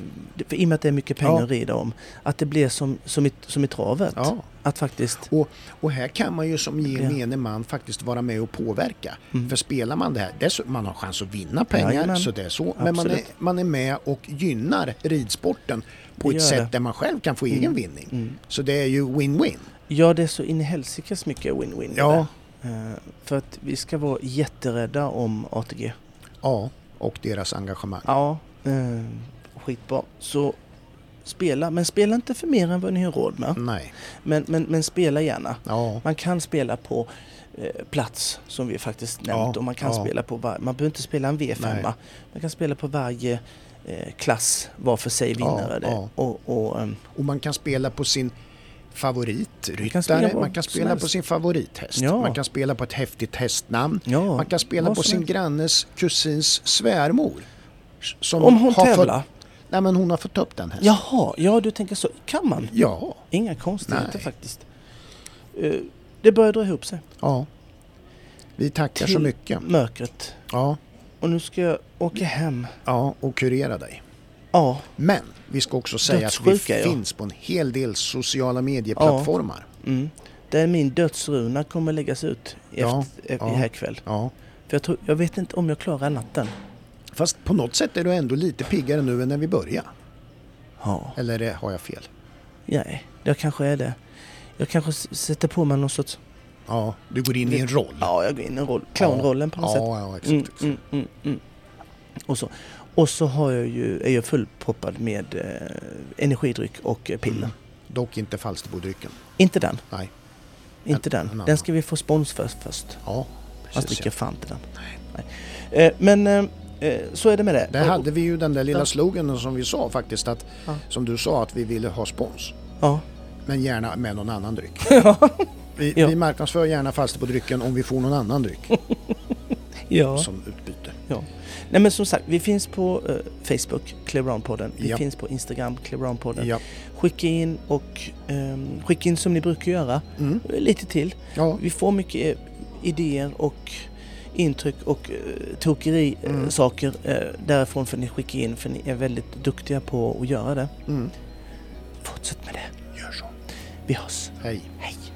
för i och med att det är mycket pengar
Ja.
att rida om, att det blir som, som, i, som i travet.
ja.
Att faktiskt,
Och, och här kan man ju som gemene man faktiskt vara med och påverka.
Mm.
För spelar man det här, det är så, man har chans att vinna pengar,
Jajamän.
så det är så. Men man är,
Absolut.
man är med och gynnar ridsporten på
Det
ett
gör
sätt
det.
där man själv kan få egen vinning.
mm,
Så det är ju win-win.
Ja, det är så in i helsikes mycket win-win. i
Ja,
det. Eh, För att vi ska vara jätterädda om ATG.
ja, och deras engagemang.
Ja, eh, skitbra. Så spela, men spela inte för mer än vad ni har råd med.
Nej,
Men, men, men spela gärna.
ja,
Man kan spela på eh, plats som vi faktiskt nämnt
Ja,
och man kan
ja.
spela på var- man behöver inte spela en V5.
Nej.
-a. Man kan spela på varje eh, klass var för sig
Ja,
vinnare. det.
ja.
Och, och, ehm,
och man kan spela på sin favoritryttare, man
kan
kan
spela
spela
på
på,
vad som helst.
sin favorithäst,
Ja.
man kan spela på ett häftigt hästnamn,
ja,
man kan spela
vad
på
som
sin
helst.
grannes kusins svärmor. Som
Om hon
har fått-
tävlar?
Nej men hon har fått upp den hästen.
Jaha, ja du tänker så. Kan man?
Ja.
Inga konstigheter
Nej.
faktiskt. Eh, det börjar dra ihop sig.
ja. Vi tackar så
Till-
mycket.
Mörkret.
Ja.
Och nu ska jag åka hem.
ja, och kurera dig.
Ja,
Men vi ska också säga att vi
Dödssjuka, ja.
finns på en hel del sociala medieplattformar.
mm. där min dödsruna kommer läggas ut i
Ja,
efter,
ja.
i här kväll.
Ja.
För jag, tror, jag vet inte om jag klarar natten.
Fast på något sätt är du ändå lite piggare nu än när vi började.
Ja.
Eller eh, har jag fel?
Nej, jag kanske är det. Jag kanske s- sätter på mig någon sorts...
Ja, du går in i en roll.
Ja, jag går in i en roll. Clownrollen på något
ja,
sätt.
Ja, exakt.
Mm,
exakt.
mm, mm, mm. Och så, och så har jag ju, är jag fullproppad med eh, energidryck och eh, piller.
Mm. Dock inte Falsterbodrycken.
Inte den.
Nej.
Inte
en
den.
annan.
Den ska vi få spons för först.
Ja,
Man
precis.
dricker fan inte den.
Nej.
Nej. Eh, men eh, eh, så är det med det.
Där hade vi ju den där
Ja.
lilla sloganen som vi sa faktiskt att,
Ja.
som du sa att vi ville ha spons.
Ja.
Men gärna med någon annan dryck. Vi,
(laughs) Ja.
vi marknadsför gärna Falsterbodrycken om vi får någon annan dryck
ja.
som utbyte.
Ja. Nej men som sagt, vi finns på eh, Facebook, Clearown-podden. Vi
Ja.
finns på Instagram, Clearown-podden.
Ja.
Skicka in och ehm, skicka in som ni brukar göra,
Mm.
eh, lite till.
Ja.
Vi får mycket eh, idéer och intryck och eh, tokeri eh,
Mm.
saker eh, därifrån för ni skickar in för ni är väldigt duktiga på att göra det.
Mm.
Fortsätt med det.
Gör så.
Vi hörs.
Hej.
Hej!